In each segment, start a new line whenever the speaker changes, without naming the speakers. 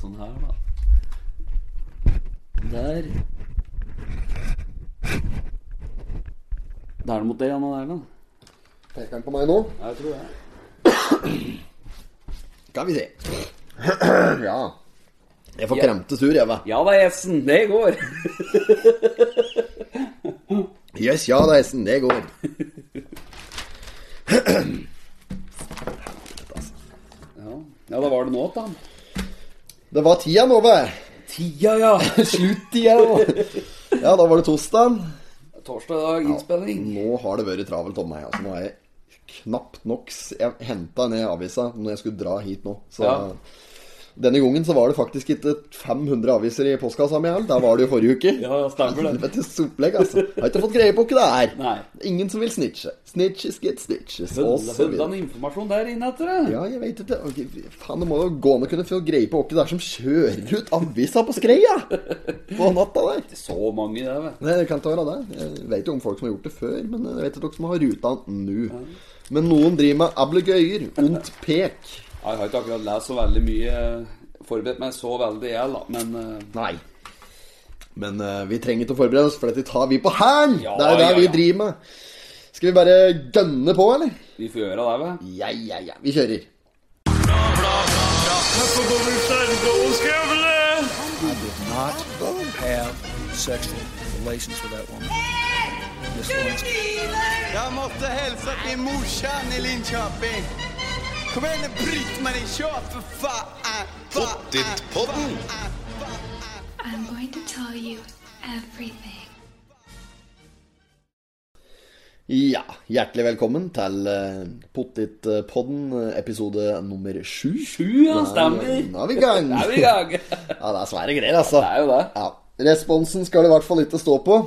sånn her, da. Der. Da er det mot deg, Jan Erlend.
Peker han på meg nå?
Jeg tror det.
Skal vi se. ja. Jeg får kremtetur, jeg, hva.
Ja da, Jessen. Det går.
Yes, ja da, Hesten. Det går.
Ja, ja da var det nå, da.
Det var tida nå, hva.
Tida, ja.
Slutt-tida. Ja, da var det torsdag.
Torsdag dag, innspilling.
Nå har det vært travelt om meg. Altså, nå er jeg knapt nok s- Jeg henta ned avisa når jeg skulle dra hit nå. Så
Ja.
denne gangen så var det faktisk ikke 500 aviser i postkassa mi heller. Der var det jo forrige uke.
Ja, stemmer det.
Helvetes opplegg, altså. Jeg har ikke fått greie på hva det er.
Nei.
Ingen som vil snitche. Snitches get stitches. og så
Fødda
videre.
informasjon der inne etter det.
Ja, jeg veit ikke. Ok, Faen, det må jo gå an å kunne få greie på hvem det er som kjører ut avisa på skreia på natta der.
Så mange, det, vet du.
Nei, det kan ikke være det. Jeg vet jo om folk som har gjort det før, men jeg vet ikke dere som har ruta nå. Men noen driver med ablegøyer, ondt pek.
Jeg har ikke akkurat lest så veldig mye. Forberedt meg så veldig, jeg, da. Men eh,
Nei. Men eh, vi trenger ikke å forberede oss, for dette tar vi på hæren!
Ja,
det er det
ja,
vi
ja.
driver med. Skal vi bare gønne på, eller?
vi får gjøre det, vel?
Ja, ja, ja. Vi kjører.
not have sexual relations with that woman. Miss Lewinsky.
Jeg måtte hilse til morsan i Linköping. Kom igjen, bryt meg i kjøp, for faen! Pottit-podden!
I'm going to tell you everything.
Ja, hjertelig velkommen til uh, Pottitpodden, eh, episode nummer sju.
Sju, ja, stemmer.
Nå er- Nå er vi i gang.
Er vi i gang?
Ja, det er svære greier, altså.
Det er jo det.
Ja, Responsen skal det i hvert fall ikke stå på.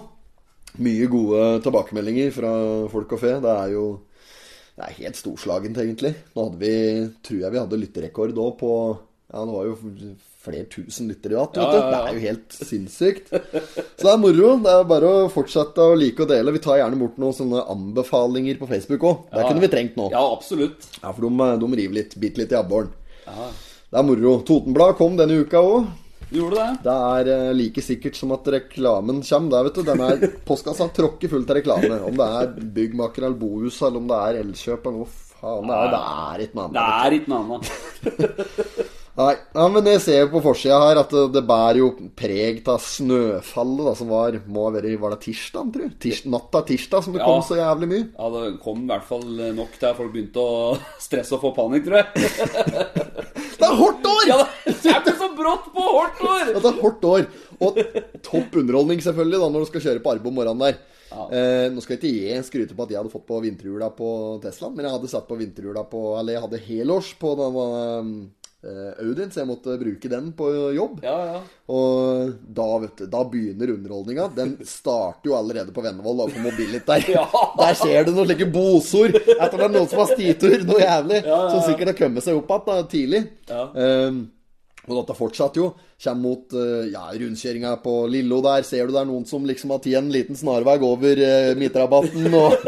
Mye gode tilbakemeldinger fra folk og fe. Det er jo det er helt storslagent, egentlig. Nå hadde vi, tror jeg vi hadde lytterrekord òg på Ja, det var jo flere tusen lyttere igjen.
Ja,
vet du.
ja, ja.
Det er jo helt sinnssykt. Så det er moro. Det er bare å fortsette å like og dele. Vi tar gjerne bort noen sånne anbefalinger på Facebook òg. Det kunne vi trengt nå.
Ja, absolutt.
Ja, for de, eh, de river litt, biter litt i abboren. Det er moro. Totenblad kom denne uka òg.
Gjorde det?
Det er eh, like sikkert som at reklamen kommer. Der, vet du. Den er postkassa tråkker fullt av reklame. Om det er byggmaker eller bohus, eller om det er Elkjøp eller hva faen det er. Det er ikke noe
Det
annet.
er ikke noe annet.
Nei, ja, men jeg ser jo på forsida her at det, det bærer jo preg av snøfallet da, som var må ha vært Var det tirsdag, tror du? Tirs, natta tirsdag som det
Ja.
kom så jævlig mye.
Ja, det kom i hvert fall nok til at folk begynte å stresse og få panikk, tror jeg.
Det er hardt år!
Ja, det kommer så brått på hardt år!
Ja, det er hardt år. Og topp underholdning, selvfølgelig, da, når du skal kjøre på arbeid om morgenen der. Eh, nå skal ikke jeg skryte på at jeg hadde fått på vinterhjula på Teslaen, men jeg hadde satt på vinterhjula på Eller jeg hadde helårs på den eh, Audien, så jeg måtte bruke den på jobb.
Ja, ja.
Og da, vet du, da begynner underholdninga. Den starter jo allerede på Vennevoll, da, på Mobility der.
Ja.
Der skjer det noen slike bosord etter det er noen som har stitur, noe jævlig. Som sikkert har kommet seg opp igjen da, tidlig.
Ja.
Ehm, og dette fortsatte jo. Kjem mot eh, ja, rundkjøringa på Lillo der. Ser du det er noen som liksom har tatt en liten snarvei over eh, midtrabatten og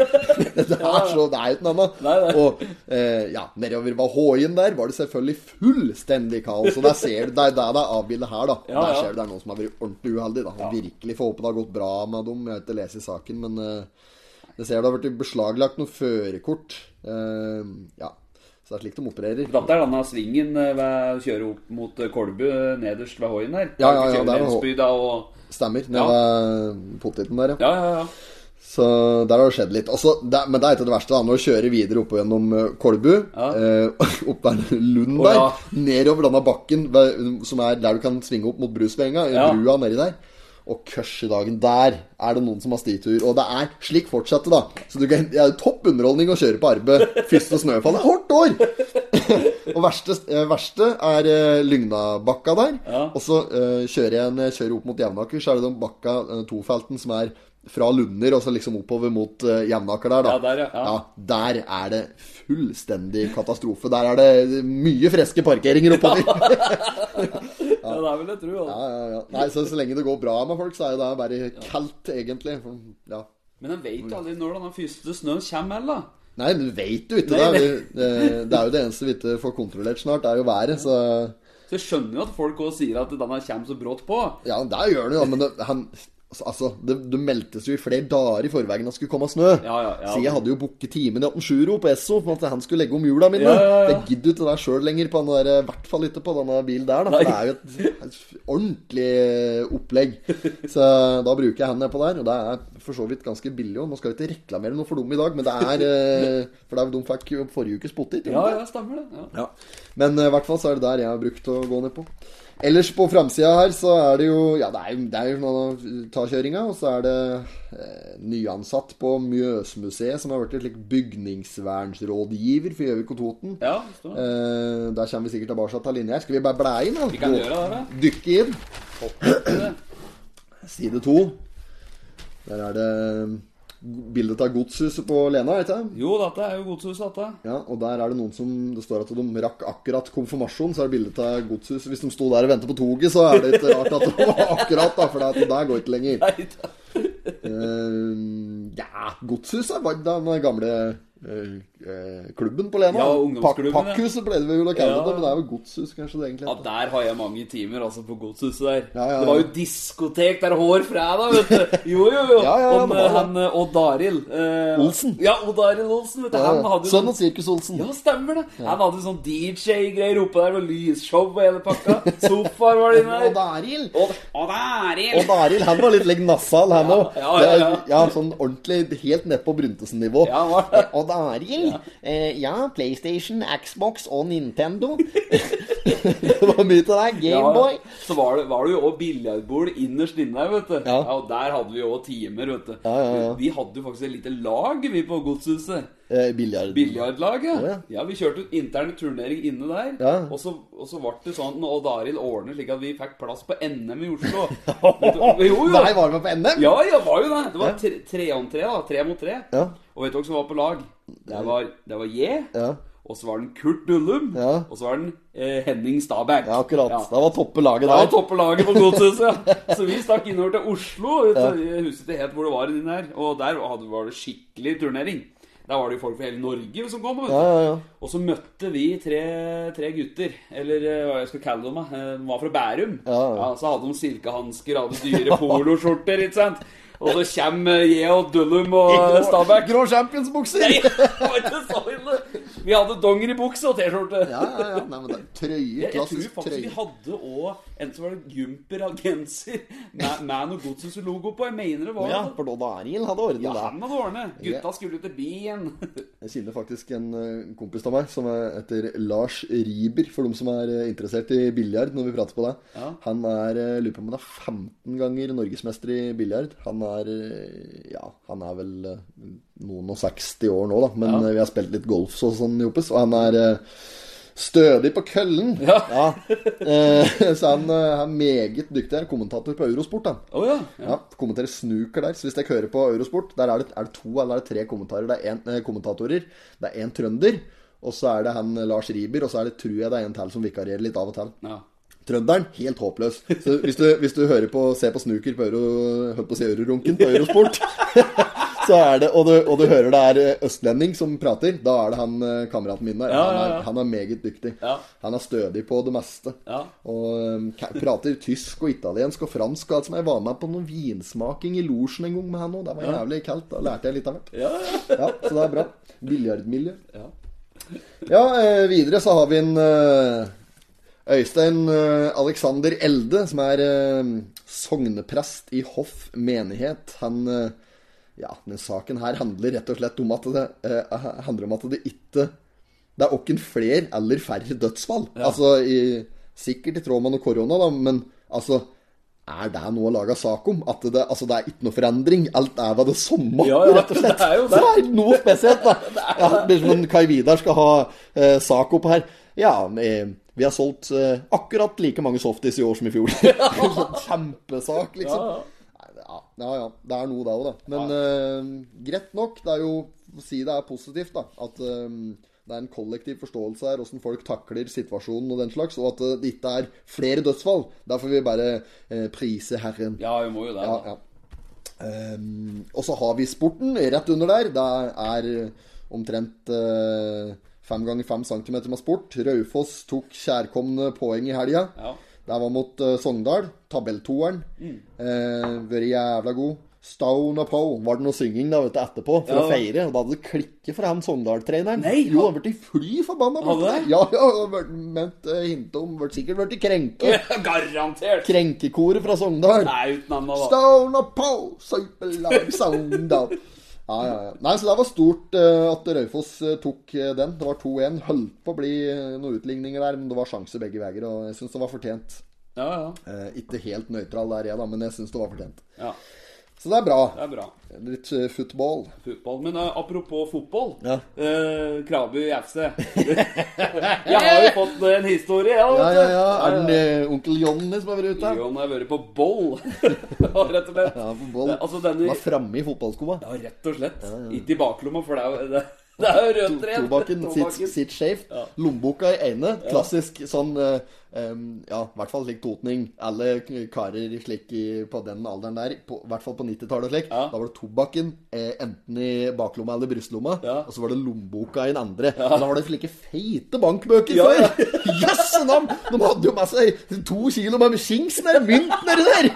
Det er så Det er jo ikke noe
Nei, nei.
annet. Og eh, ja, nedover ved Håien der var det selvfølgelig fullstendig kaos. Og der ser du, det er der det er avbildet her, da.
Ja,
Der
ja.
ser du det er noen som har vært ordentlig uheldig. da. Og Virkelig får håpe det har gått bra med dem. Jeg har ikke lest i saken, men eh, det ser det har blitt beslaglagt noen førerkort. Eh, ja. Så det er slik de opererer.
Dette er denne svingen eh, ved å kjøre opp mot eh, Kolbu eh, nederst ved Hoien her.
Ja, ja, ja,
Kjører
der var
Lensby da og
Stemmer. Nede
Ja.
ved poteten der, ja.
Ja, ja, ja.
Så der har det skjedd litt. Også, det, men det er ikke det verste. da Når du kjører videre opp gjennom eh, Kolbu,
Ja.
eh, opp der Lund
Å,
der,
ja.
nedover denne bakken ved- som er der du kan svinge opp mot Brusvenga,
Ja.
brua nedi der og kørsjedagen der er det noen som har stitur. Og det er slik fortsatte, da. Så du kan, det er topp underholdning å kjøre på arbeid. Første snøfall. Det er hardt år! og verste, eh, verste er eh, Lygnabakka der. Og så eh, kjører jeg en, jeg kjører opp mot Jevnaker, så er det den bakka, eh, tofelten, som er fra Lunder og så liksom oppover mot eh, Jevnaker der, da.
Ja, der, ja. Ja.
der er det fullstendig katastrofe. Der er det mye freske parkeringer oppover.
ja. Det er vel det, tror jeg. altså.
Ja, ja, ja. Nei, så, så lenge det går bra med folk, så er jo det bare kaldt, egentlig. For, ja.
Men en vet jo aldri når den første snøen kommer heller.
Nei, men du vet jo ikke
Nei,
det. Vi- eh, Det er jo det eneste vi ikke får kontrollert snart, det er jo været, så
Så jeg skjønner jo at folk også sier at denne kommer så brått på.
Ja, der gjør han jo det, men det, han Altså, det, det meldtes jo i flere dager i forveien at det skulle komme snø.
Ja, ja, ja.
Så jeg hadde jo booket timen i 18.7 på Esso for at han skulle legge om hjula mine.
Ja, ja, ja.
Jeg gidder jo ikke det sjøl lenger, på den der, eh, i hvert fall ikke på denne bilen der. Da. For
Nei.
det er jo et ordentlig eh, opplegg. Så da bruker jeg hendene på der, og det er for så vidt ganske billig òg. Nå skal vi ikke reklamere noe for dem i dag, men det er eh, For det er jo de fikk jo forrige ukes potet.
Ja, ja, stemmer det. Ja.
Ja. Men eh, i hvert fall så er det der jeg har brukt å gå ned på. Ellers på framsida her så er det jo Ja, det er jo, det er jo noe ta kjøringa, og så er det eh, nyansatt på Mjøsmuseet som har blitt slik bygningsvernsrådgiver for Gjøvik og Toten.
Ja, stemmer.
Eh, der kommer vi sikkert tilbake til linja her. Skal vi bare blæ inn, da?
Vi kan gjøre det, da.
Dykke inn.
det.
Side to. Der er det mm, bildet av godshuset på Lena, vet du.
Jo, dette er jo godshuset, dette.
Ja, og der er det noen som Det står at de rakk akkurat konfirmasjon, så er det bilde av godshuset. Hvis de sto der og ventet på toget, så er det ikke rart at det var akkurat, da, for det at det der går ikke lenger.
Nei, da.
Eh, ja, godshuset var den gamle eh, eh, klubben på Lena.
Ja, ungdomsklubben, ja.
Pakkhuset ble det vel å kalle
Ja.
det, men det er jo godshus, kanskje det egentlig
Ja,
heter.
der har jeg mange timer, altså, på godshuset der.
Ja, ja,
Det var
ja.
jo diskotek der hår fredag, vet du. Jo, jo, jo.
Ja, ja, ja,
Og
det var det.
han eh, Odd Arild eh,
Olsen. Sånn
Ja, Odd Arild Olsen, vet du. Han hadde jo sånn
Sønn av Sirkus Olsen.
Ja, stemmer det. Han hadde sånn DJ-greier oppe der, og lysshow og hele pakka. Sofaer var det inne
Odd
der.
Arild.
Odd Odd Arild!
Odd Arild, han var litt lik Nassal, han òg.
Ja, ja, ja, ja.
sånn ordentlig helt ned på Bruntesen-nivå.
Ja, han var det.
Odd Arild? Eh, ja, PlayStation, Xbox og Nintendo. det var mye til deg. Gameboy.
Ja, så var det, var det jo også billardbord innerst inne der, vet du.
Ja.
og der hadde vi jo også timer, vet du.
Ja, ja, ja.
Vi hadde jo faktisk et lite lag, vi, på godshuset.
Eh, biljard.
Biljardlaget.
Å, ja.
ja. vi kjørte ut interne turnering inne der.
Ja.
Og, så, og så ble det sånn at Odd Arild ordnet slik at vi fikk plass på NM i Oslo. jo, jo.
Nei, var du med på NM?
Ja, ja, var jo det. Det
Ja.
var tre, tre om tre, da. Tre mot tre.
Ja.
Og vet du hvem som var på lag? Det var, det var jeg.
Ja.
Og så var den Kurt Dullum.
Ja.
Og så var den eh, Henning Stabæk.
Ja, akkurat.
Ja.
Det var toppe laget
Det var
der.
toppe laget på godshuset. ja. Så vi stakk innover til Oslo. vet du. Jeg husker ikke helt hvor det var. i den her Og der hadde- var det skikkelig turnering. Der var det jo folk fra hele Norge som kom. vet du.
Ja, ja, ja.
Og så møtte vi tre, tre gutter, eller eh, hva jeg skal kalle dem, da. Eh, de var fra Bærum.
Ja, ja.
Så hadde de silkehansker, hadde dyre poloskjorter, ikke sant. Og så kommer eh, jeg og Dullum og eh, Stabæk.
Grå champions-bukser.
Nei, var ikke så ille. Vi hadde dongeribukse og T-skjorte.
Ja, ja, ja. Nei, men det er trøye.
Jeg, jeg tror
Klassisk
faktisk vi
trøye.
hadde òg en som var det jumper av genser med, med noe godshuset-logo på. Jeg mener det var
Ja,
det.
for Odd Arild hadde
Ja,
ordnet det.
han hadde ordnet. Gutta skulle ut til byen.
Jeg kjenner faktisk en eh, kompis av meg som er etter Lars Riber, for de som er eh, interessert i biljard når vi prater på det.
Ja.
Han er eh, lurer på om han er 15 ganger norgesmester i biljard. Han er eh, ja, han er vel eh, noen og 60 år nå, da, men eh, vi har spilt litt golf og sånn jobbes, og han er eh, Stødig på køllen!
Ja.
Eh, så han eh, er meget dyktig. Han er kommentator på Eurosport. da
Å ja. ja.
ja, kommenterer snooker der. Så hvis dere hører på Eurosport, der er det, er det to eller er det tre kommentarer. Det er en, eh, kommentatorer. Det er én trønder, og så er det han eh, Lars Riiber, og så er det, tror jeg det er en til som vikarierer litt av og til.
ja.
Trønderen, helt håpløs. Så hvis du, hvis du hører på, ser på snooker på Euro, hører på å si Eurorunken på Eurosport, så er det, og du, og du hører det er eh, østlending som prater, da er det han eh, kameraten min der.
Ja,
han,
ja,
er,
ja.
han er meget dyktig.
Ja.
Han er stødig på det meste.
Ja.
Og eh, ka- prater tysk og italiensk og fransk. og alt som Jeg var med på noen vinsmaking i losjen en gang med han òg. Det var jævlig kaldt. Da lærte jeg litt av hvert.
Ja, ja.
Ja, så det er bra. Biljardmiljø.
Ja.
Ja, eh, videre så har vi en eh, Øystein eh, Alexander Elde, som er eh, sogneprest i Hoff menighet. Han eh, Ja, den saken her handler rett og slett om at det eh, handler om at det ikke Det er åkken flere eller færre dødsfall. Altså i, sikkert i tråd med noe korona, da, men altså er det noe å lage sak om? At det, altså, det er ikke noe forandring? Alt er hva det samme,
Ja, ja,
rett og slett.
det er jo det.
Så det er noe spesielt, da. Ja, det blir som om Kai Vidar skal ha eh, sak opp her. Ja, eh, vi har solgt eh, akkurat like mange softis i år som i fjor. Sånn Kjempesak, liksom.
Ja, ja.
Nei, Ja, ja, ja. Det er noe der òg, da. Men eh, greit nok. Det er jo å Si det er positivt, da. At eh, det er en kollektiv forståelse her, åssen folk takler situasjonen og den slags. Og at eh, det ikke er flere dødsfall. Derfor vil vi bare eh, prise Herren.
ja, vi må jo det.
Ja,
da.
ja. Ehm, og så har vi sporten rett under der. Det er omtrent eh, Fem ganger fem centimeter med sport. Raufoss tok kjærkomne poeng i helga.
Ja. Mm.
Der var mot eh, Sogndal. Tabelltoeren. Eh, Vært jævla god. Stone og Poe. Var det noe synging da, vet du, etterpå for
Ja.
å feire? Og da hadde det klikket for han Sogndal-treneren.
Nei,
jo, han ble fly forbanna. borte
Hadde det?
der. Ja, ja, han ble- ment eh, hint om ble sikkert blitt krenket.
Garantert!
Krenkekoret fra Sogndal.
Nei, uten annet, da.
Stone og Poe, superlag Sogndal. Ja, ja, ja. Nei, så det var stort eh, at Raufoss eh, tok eh, den. Det var 2-1. Holdt på å bli eh, noen utligninger der, men det var sjanse begge veier, og jeg syns det var fortjent.
Ja, ja.
Eh, ikke helt nøytral der, jeg, da, men jeg syns det var fortjent.
ja.
Så det er bra.
Det er bra.
Litt eh, football.
Fotball. Men eh, apropos fotball.
Ja.
eh, Krabi FC. jeg har jo fått en historie, ja.
Ja,
vet du.
ja, ja. Er det eh, onkel Johnny som har vært ute?
Johan har vært på boll, rett og slett.
Ja, på boll.
Det- Altså, denne
Var framme i fotballskoa.
Ja, rett og slett. Ikke i baklomma, for det er jo det, det er jo rødt tre.
Tobakken sitt, sitt skjevt. Lommeboka i ene. Klassisk sånn eh, em, Ja, i hvert fall slik totning. Alle k- karer slik i, på den alderen der, på- i hvert fall på 90-tallet og slik,
Ja.
da var det tobakken eh, enten i baklomma eller brystlomma,
Ja.
og så var det lommeboka i den andre. Og da var det slike feite bankbøker
Ja, ja.
før! Jøsse navn! De hadde jo med seg to kilo med skings nedi mynt nedi der!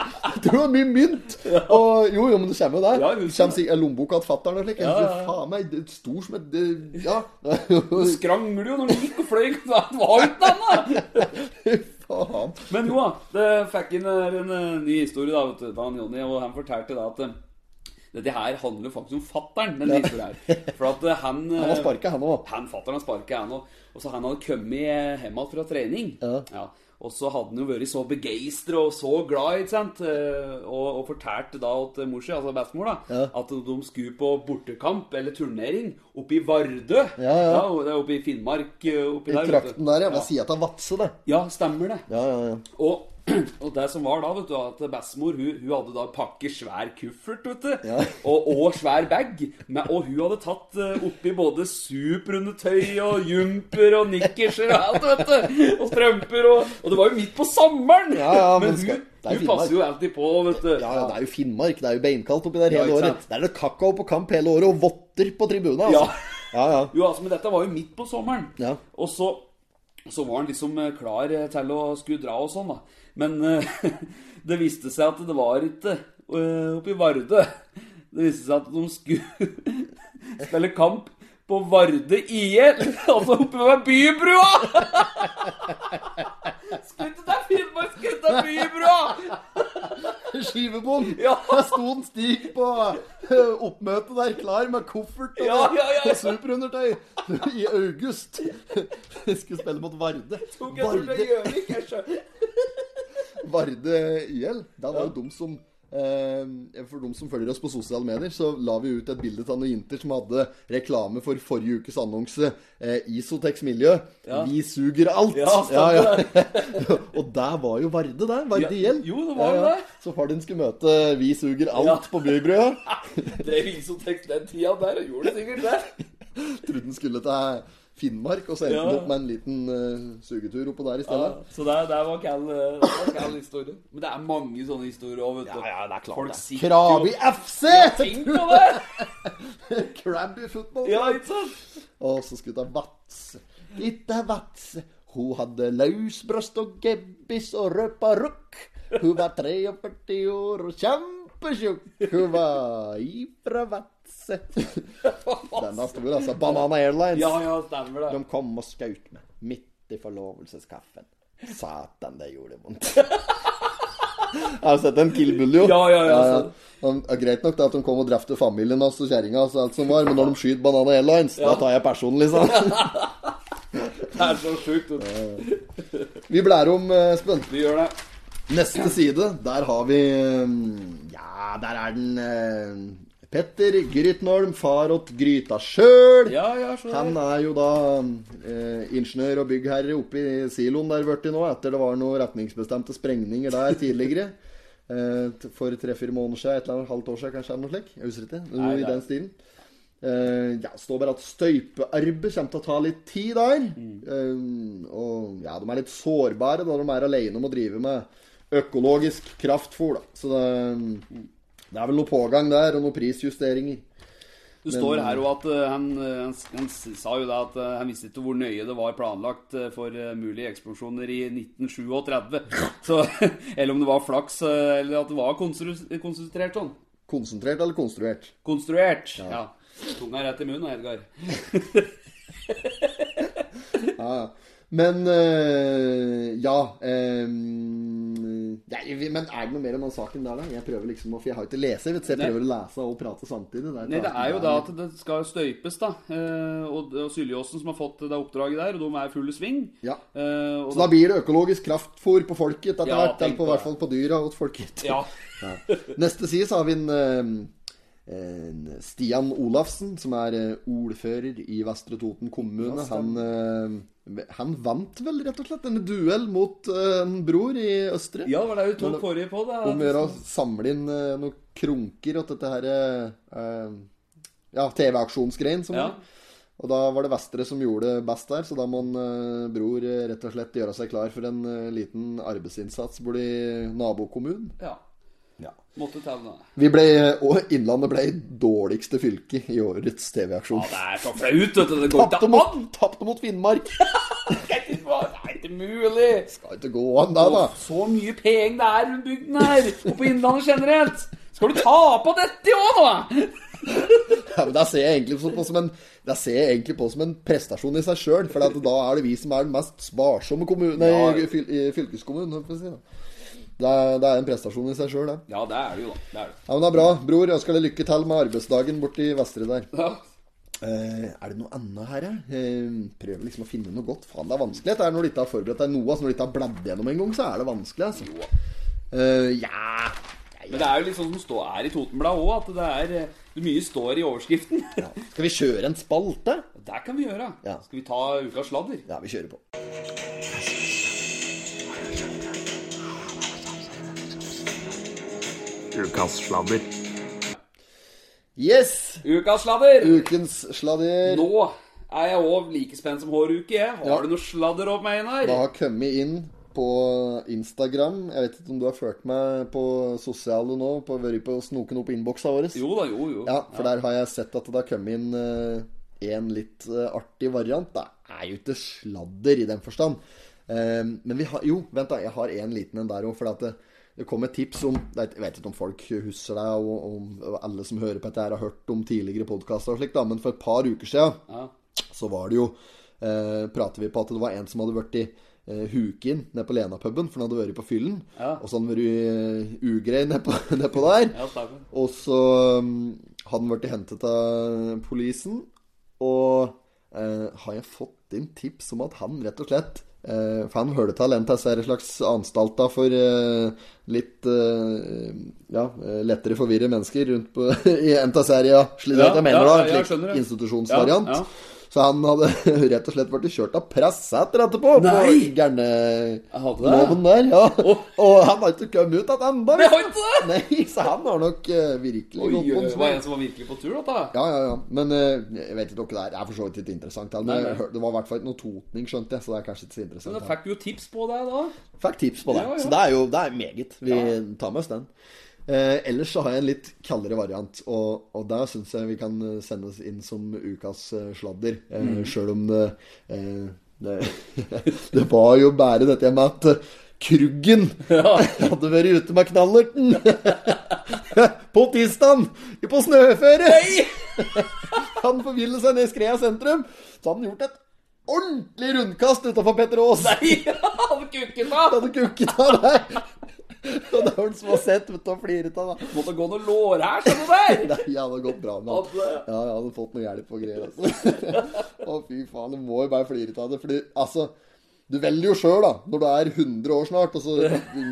Det var mye mynt! Og jo, jo, men det kommer jo
Ja,
der. det
jeg husker
kommer sikkert lommeboka til fatter'n og slik.
Ja, ja, ja.
Faen meg, det er stor som et det- Ja.
Du skrangler jo når du gikk og fløy. Det var jo ikke annet!
Faen.
Men jo da, det fikk inn her en eh, ny historie da, vet du, da han Jonny, og han fortalte da at eh, dette her handler jo faktisk om fatteren, denne historien her. For at eh, han eh,
Han har sparka, han òg.
Han fatter han sparket han og, og så han hadde kommet hjem igjen fra trening.
Ja.
Og så hadde han jo vært så begeistra og så glad, ikke sant. Eh, Og, og fortalte da til mor si, altså bestemor, da,
Ja.
at de skulle på bortekamp eller turnering oppe i Vardø.
Ja, ja.
og det er oppe i Finnmark. eh, Oppi
I
der, vet du.
trakten der, ja. Hva sier jeg til Vatse, det?
Ja, stemmer det.
Ja, ja, ja.
Og, og det som var da, vet du, at bestemor hun, hun hadde da pakket svær kuffert, vet du,
Ja.
og, og svær bag, men, og hun hadde tatt eh, oppi både superundetøy og jumper og nikkerser og alt, vet du, og strømper, og, og det var jo midt på sommeren,
Ja, ja, men
men
skal-
hun,
det er
hun
Finnmark.
passer jo alltid på, vet du.
Ja, ja, Det er jo Finnmark. Det er jo beinkaldt oppi der
Ja,
hele
ikke
året.
sant?
Der er det kakao på kamp hele året, og votter på tribunen. Altså. Ja, ja.
Jo, altså, men dette var jo midt på sommeren.
Ja.
Og så, så var han liksom eh, klar eh, til å skulle dra og sånn, da. Men eh, det viste seg at det var ikke eh, oppe i Vardø. Det viste seg at de skulle spille kamp på Vardø IL, altså oppe ved bybrua! Skulle ikke til Finnmark, skulle til bybrua!
Skivebom!
Ja.
Der sto en Stig på eh, oppmøtet der, klar med koffert og,
Ja, ja, ja, ja.
og superundertøy. I august. Jeg skulle spille mot Varde.
Tok jeg tror det er Gjøvik, jeg skjønner.
Varde IL. Da var jo de som eh, For de som følger oss på sosiale medier, så la vi ut et bilde av noen jenter som hadde reklame for forrige ukes annonse. Eh, Isotex Miljø.
Ja.
Vi suger alt!
Ja, stemmer
ja. Og der var jo Varde, der. Varde
Ja,
IL.
jo, det var jo det.
Så far din skulle møte Vi suger alt
Ja.
på Bybrua.
Drev isotekst den tida der, og gjorde det sikkert det.
Trodde han skulle til Finnmark, og så endte
Ja.
han opp med en liten eh, sugetur oppå der i
Ja,
stedet.
så det, det var kall, det var kall historie. Men det er mange sånne historier òg, vet du.
Ja, ja, det er klart
Folk
det.
sitter
Krabi
jo-
FC!
Tenk på det!
Krabby football.
Ja, ikke sant?
Og så skulle det vatse. Lita vatse. Hun hadde løsbrøst og gebbis og røparukk. Hun var 43 år og kjempetjukk. Hun var ifra Vatse. Den er stor, altså. Banana Airlines.
Ja, ja, stemmer det.
De kom og skjøt meg. Midt i forlovelseskaffen. Satan, det gjorde vondt. Jeg har sett en Kill Bull, jo.
Ja, ja, altså. ja, sant.
Men, ja, greit nok det at de kom og drepte familien hans og kjerringa, hans og alt som var, men når de skyter Banana Airlines, da tar jeg personlig, liksom.
Det er så sjukt. vet du.
Vi blærer om eh, Espen.
Vi gjør det.
Neste side, der har vi eh, Ja, der er den eh, Petter Grytnholm, far åt gryta sjøl.
Ja, ja, så
Han er jo da eh, ingeniør og byggherre oppe i siloen der borti nå, etter det var noen retningsbestemte sprengninger der tidligere. Eh, t- for tre-fire måneder siden, et eller annet halvt år siden, kanskje, eller noe slikt. Jeg husker ikke. Noe
Nei,
i
det er-
den stilen. Eh, ja, det står bare at støypearbeid kommer til å ta litt tid der.
Mm.
Eh, og ja, de er litt sårbare da de er alene om å drive med økologisk
Mm.
eh, kraftfôr, da. Så det, det er vel noe pågang der, og noen prisjusteringer.
Det står her òg at eh, han, eh, han, s- han s- sa jo det at eh, han visste ikke hvor nøye det var planlagt eh, for eh, mulige eksplosjoner i 1937. Så, eller om det var flaks, eh, eller at det var konstru konsentrert sånn.
Konsentrert eller konstruert?
Konstruert. Ja. Tunga rett i munnen, Edgar.
Men eh, ja ehm, jeg, Men er det noe mer om den saken der, da? Jeg prøver liksom å For jeg har jo ikke leser, vet du, så jeg
Nei.
prøver å lese og prate samtidig. er
Nei, det er jo
klart
da at det skal støypes, da. Eh, Og, og Syljåsen som har fått det oppdraget der, og de er i full sving.
Ja.
Eh, og
Så da blir det økologisk kraftfôr på folket etter
Ja,
hvert.
tenk
Eller på,
på
i
det.
hvert fall på dyra og folket.
Ja.
Neste side så har vi en, eh, en Stian Olafsen, som er eh, ordfører i Vestre Toten kommune. Han, eh, han vant vel rett og slett en duell mot eh, en bror i Østre.
ja, det var det vi tok
Men-
forrige på. Da.
Om å gjøre å samle inn eh, noen krunker og dette her eh, Ja, TV-aksjonsgreien. som
Ja.
var. Og da var det Vestre som gjorde det best der, så da må en eh, bror eh, rett og slett gjøre seg klar for en eh, liten arbeidsinnsats borti nabokommunen.
ja.
Ja.
Måtte til det.
Vi ble, og Innlandet ble dårligste fylke i årets TV-aksjon.
Ja, det er så flaut, vet du. Det går
Tapte
ikke
mot,
an!
tapte mot Finnmark!
Det er ikke- det er ikke mulig!
Skal ikke gå an, da, da.
Og så mye penger det er rundt bygden her, og på Innlandet generelt! Skal du ta på dette òg, da?!
Ja, men det ser jeg egentlig på som en, det ser jeg egentlig på som en prestasjon i seg sjøl. For at da er det vi som er den mest sparsomme kommunen, nei,
Ja.
fyl, i fylkeskommunen. holdt jeg på å Si, da. det, er, det er en prestasjon i seg sjøl, det.
Ja, det er det jo, da. Det er det.
Ja, men det er bra. Bror, jeg ønsker deg lykke til med arbeidsdagen borti Vestre der.
Ja.
Eh, er det noe annet her, jeg? Eh, prøver liksom å finne noe godt. Faen, det er vanskelig. Det er når du ikke har forberedt deg noe. Altså, når du ikke har bladd gjennom en gang, så er det vanskelig, altså. Eh, ja
Men det er jo litt sånn som står her i Totenbladet òg, at det er eh, det mye står i overskriften.
Skal vi kjøre en spalte?
Det kan vi gjøre.
Ja.
Skal vi ta ukas sladder?
Ja, vi kjører på.
Ukas sladder.
Yes!
Ukas sladder!
Ukens sladder.
Nå er jeg òg like spent som håruke, jeg. Har
Ja.
du noe sladder opp meg,
Det
Einar?
har kommet inn på Instagram. Jeg vet ikke om du har ført meg på sosiale nå, på, vært på snoken opp innboksa vår?
Jo da, jo, jo.
Ja, for der har jeg sett at det har kommet inn eh, en litt eh, artig variant. Det er jo ikke sladder i den forstand. Eh, men vi har Jo, vent, da. Jeg har en liten en der òg. For at det, det kom et tips om det er- Jeg vet ikke om folk husker det, og om alle som hører på dette, her har hørt om tidligere podkaster og slikt, da, men for et par uker siden
Ja.
så var det jo eh, Prater vi på at det var en som hadde vært i eh, Hukin nede på Lena-puben, for han hadde vært på fyllen.
Ja.
Og så hadde han vært eh, ugrei nedpå ned på der.
Ja, Steffen.
Og så um, hadde han vært hentet av polisen. Og eh, har jeg fått inn tips om at han rett og slett eh, For han hørte til en av disse her slags anstalter for eh, litt eh, ja, eh, lettere forvirre mennesker rundt på i en av disse her, ja, slik
Ja,
at jeg
ja,
mener da,
ja, jeg
slik
skjønner det.
institusjonsvariant.
Ja, ja.
Så han hadde rett og slett blitt kjørt av pressetter etterpå.
Nei!
På gærne-
hadde det.
loven der, ja. Og han har ikke kommet ut igjen ennå.
Jeg har ikke det!
Nei, så han har nok eh, virkelig
Oi,
gått på en
det var en
smell.
som var virkelig på tur, da. da.
Ja, ja, ja. Men eh, jeg vet ikke om det er, det er for så vidt ikke interessant. Men
Nei, nei.
jeg hørte- det var i hvert fall ikke noe totning, skjønte jeg. Så det er kanskje ikke så
Men da
interessant.
fikk du jo tips på deg da.
Fikk, fikk tips på det.
Ja, ja.
Så det er jo det er meget. Vi tar med oss den. Eh, ellers så har jeg en litt kaldere variant, og, og der syns jeg vi kan eh, sende oss inn som ukas eh, sladder. Eh,
Mm.
Sjøl om det, eh, det Det var jo bare dette med at eh, Kruggen hadde vært ute med knallerten på tirsdagen på snøføre! Han forvillet seg ned i Skrea sentrum, så hadde han gjort et ordentlig rundkast utafor Petter Aas.
Han kukken, da!
Han hadde kukket av deg. Og det var han som har sett ut og fliret av deg.
Måtte gå noen lår her, skjønner du der!
Nei, jeg hadde gått bra med han.
Hadde-
Ja, jeg hadde fått noe hjelp og greier. Altså. Å, fy faen, du må jo bare flire av det. Fordi, altså Du velger jo sjøl, da. Når du er 100 år snart, og så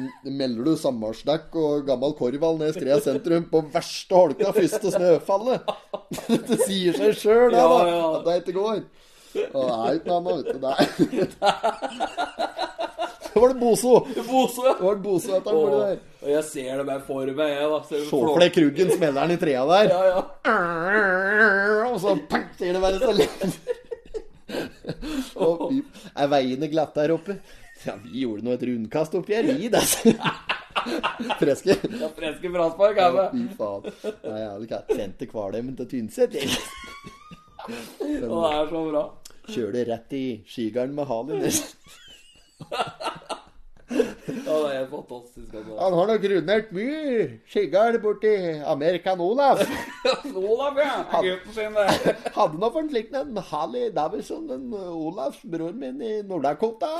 melder du sammarsnakk og gammel korvhall ned i Skrea sentrum på verste holka, første snøfallet. Det sier seg sjøl, det,
Ja,
da.
ja.
At det ikke går. Og det er jo ikke noe annet, vet du. Det er Så var det Boso.
Bose.
Det var det Boso etter han borti
Åh,
der.
Og jeg ser det bare for meg, jeg, da. Ser du
Se
flå-
for deg Kruggen smeller den i trea der.
Ja, ja.
Og så pang, sier det bare selv. Og pip. Er veiene glatte her oppe? Ja, vi gjorde nå et rundkast oppi her, vi, da. Freske.
Ja, Freske fraspark er det.
Fy faen. Nei, jeg hadde ikke sendt til Kvalheim til Tynset. jeg.
Og det er så bra.
Kjører rett i skigarden med halen.
Ja, det er helt fantastisk. Altså.
Han har nok rundert mye skigard borti Amerikan Olaf.
Olav, ja. er Gutten sin, det.
Hadde nå for en slik en Harley Davison, en Olafs bror min i Nord-Dakota.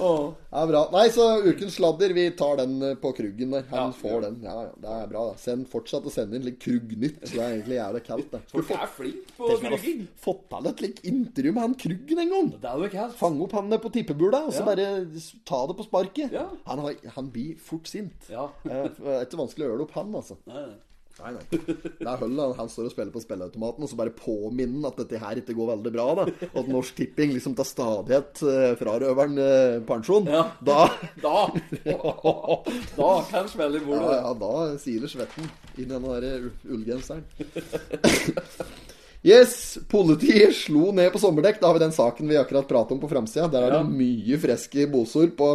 Åh.
Ja, bra. Nei, så ukens sladder, vi tar den eh, på kruggen der. Han får den. Ja, ja, det er bra. da. Send, fortsatt å sende inn litt Krugg-nytt. Det er egentlig jævlig kaldt, det. Skulle
Folk
fått,
er flink på
tenk om jeg
krygging.
hadde fått til et slikt intervju med han Kruggen en gang.
Det er jo ikke helt
Fange opp han på tippebula, og så
Ja.
bare s- ta det på sparket.
Ja.
Han, har, han blir fort sint. Eh,
Ja.
Det er ikke vanskelig å øle opp han, altså.
Nei, nei.
Nei, nei. Det er Høll, han, han står og spiller på spilleautomaten, og så bare påminner han at dette her ikke går veldig bra. da Og at Norsk Tipping liksom tar stadighet eh, frarøver han eh, pensjon.
Ja.
Da
Da Da kan jeg smelle i
ja,
bordet.
ja, da siler svetten inn i den der u- ullgenseren. Yes, politiet slo ned på sommerdekk. Da har vi den saken vi akkurat pratet om på framsida. Der er
Ja.
det mye freske bosord på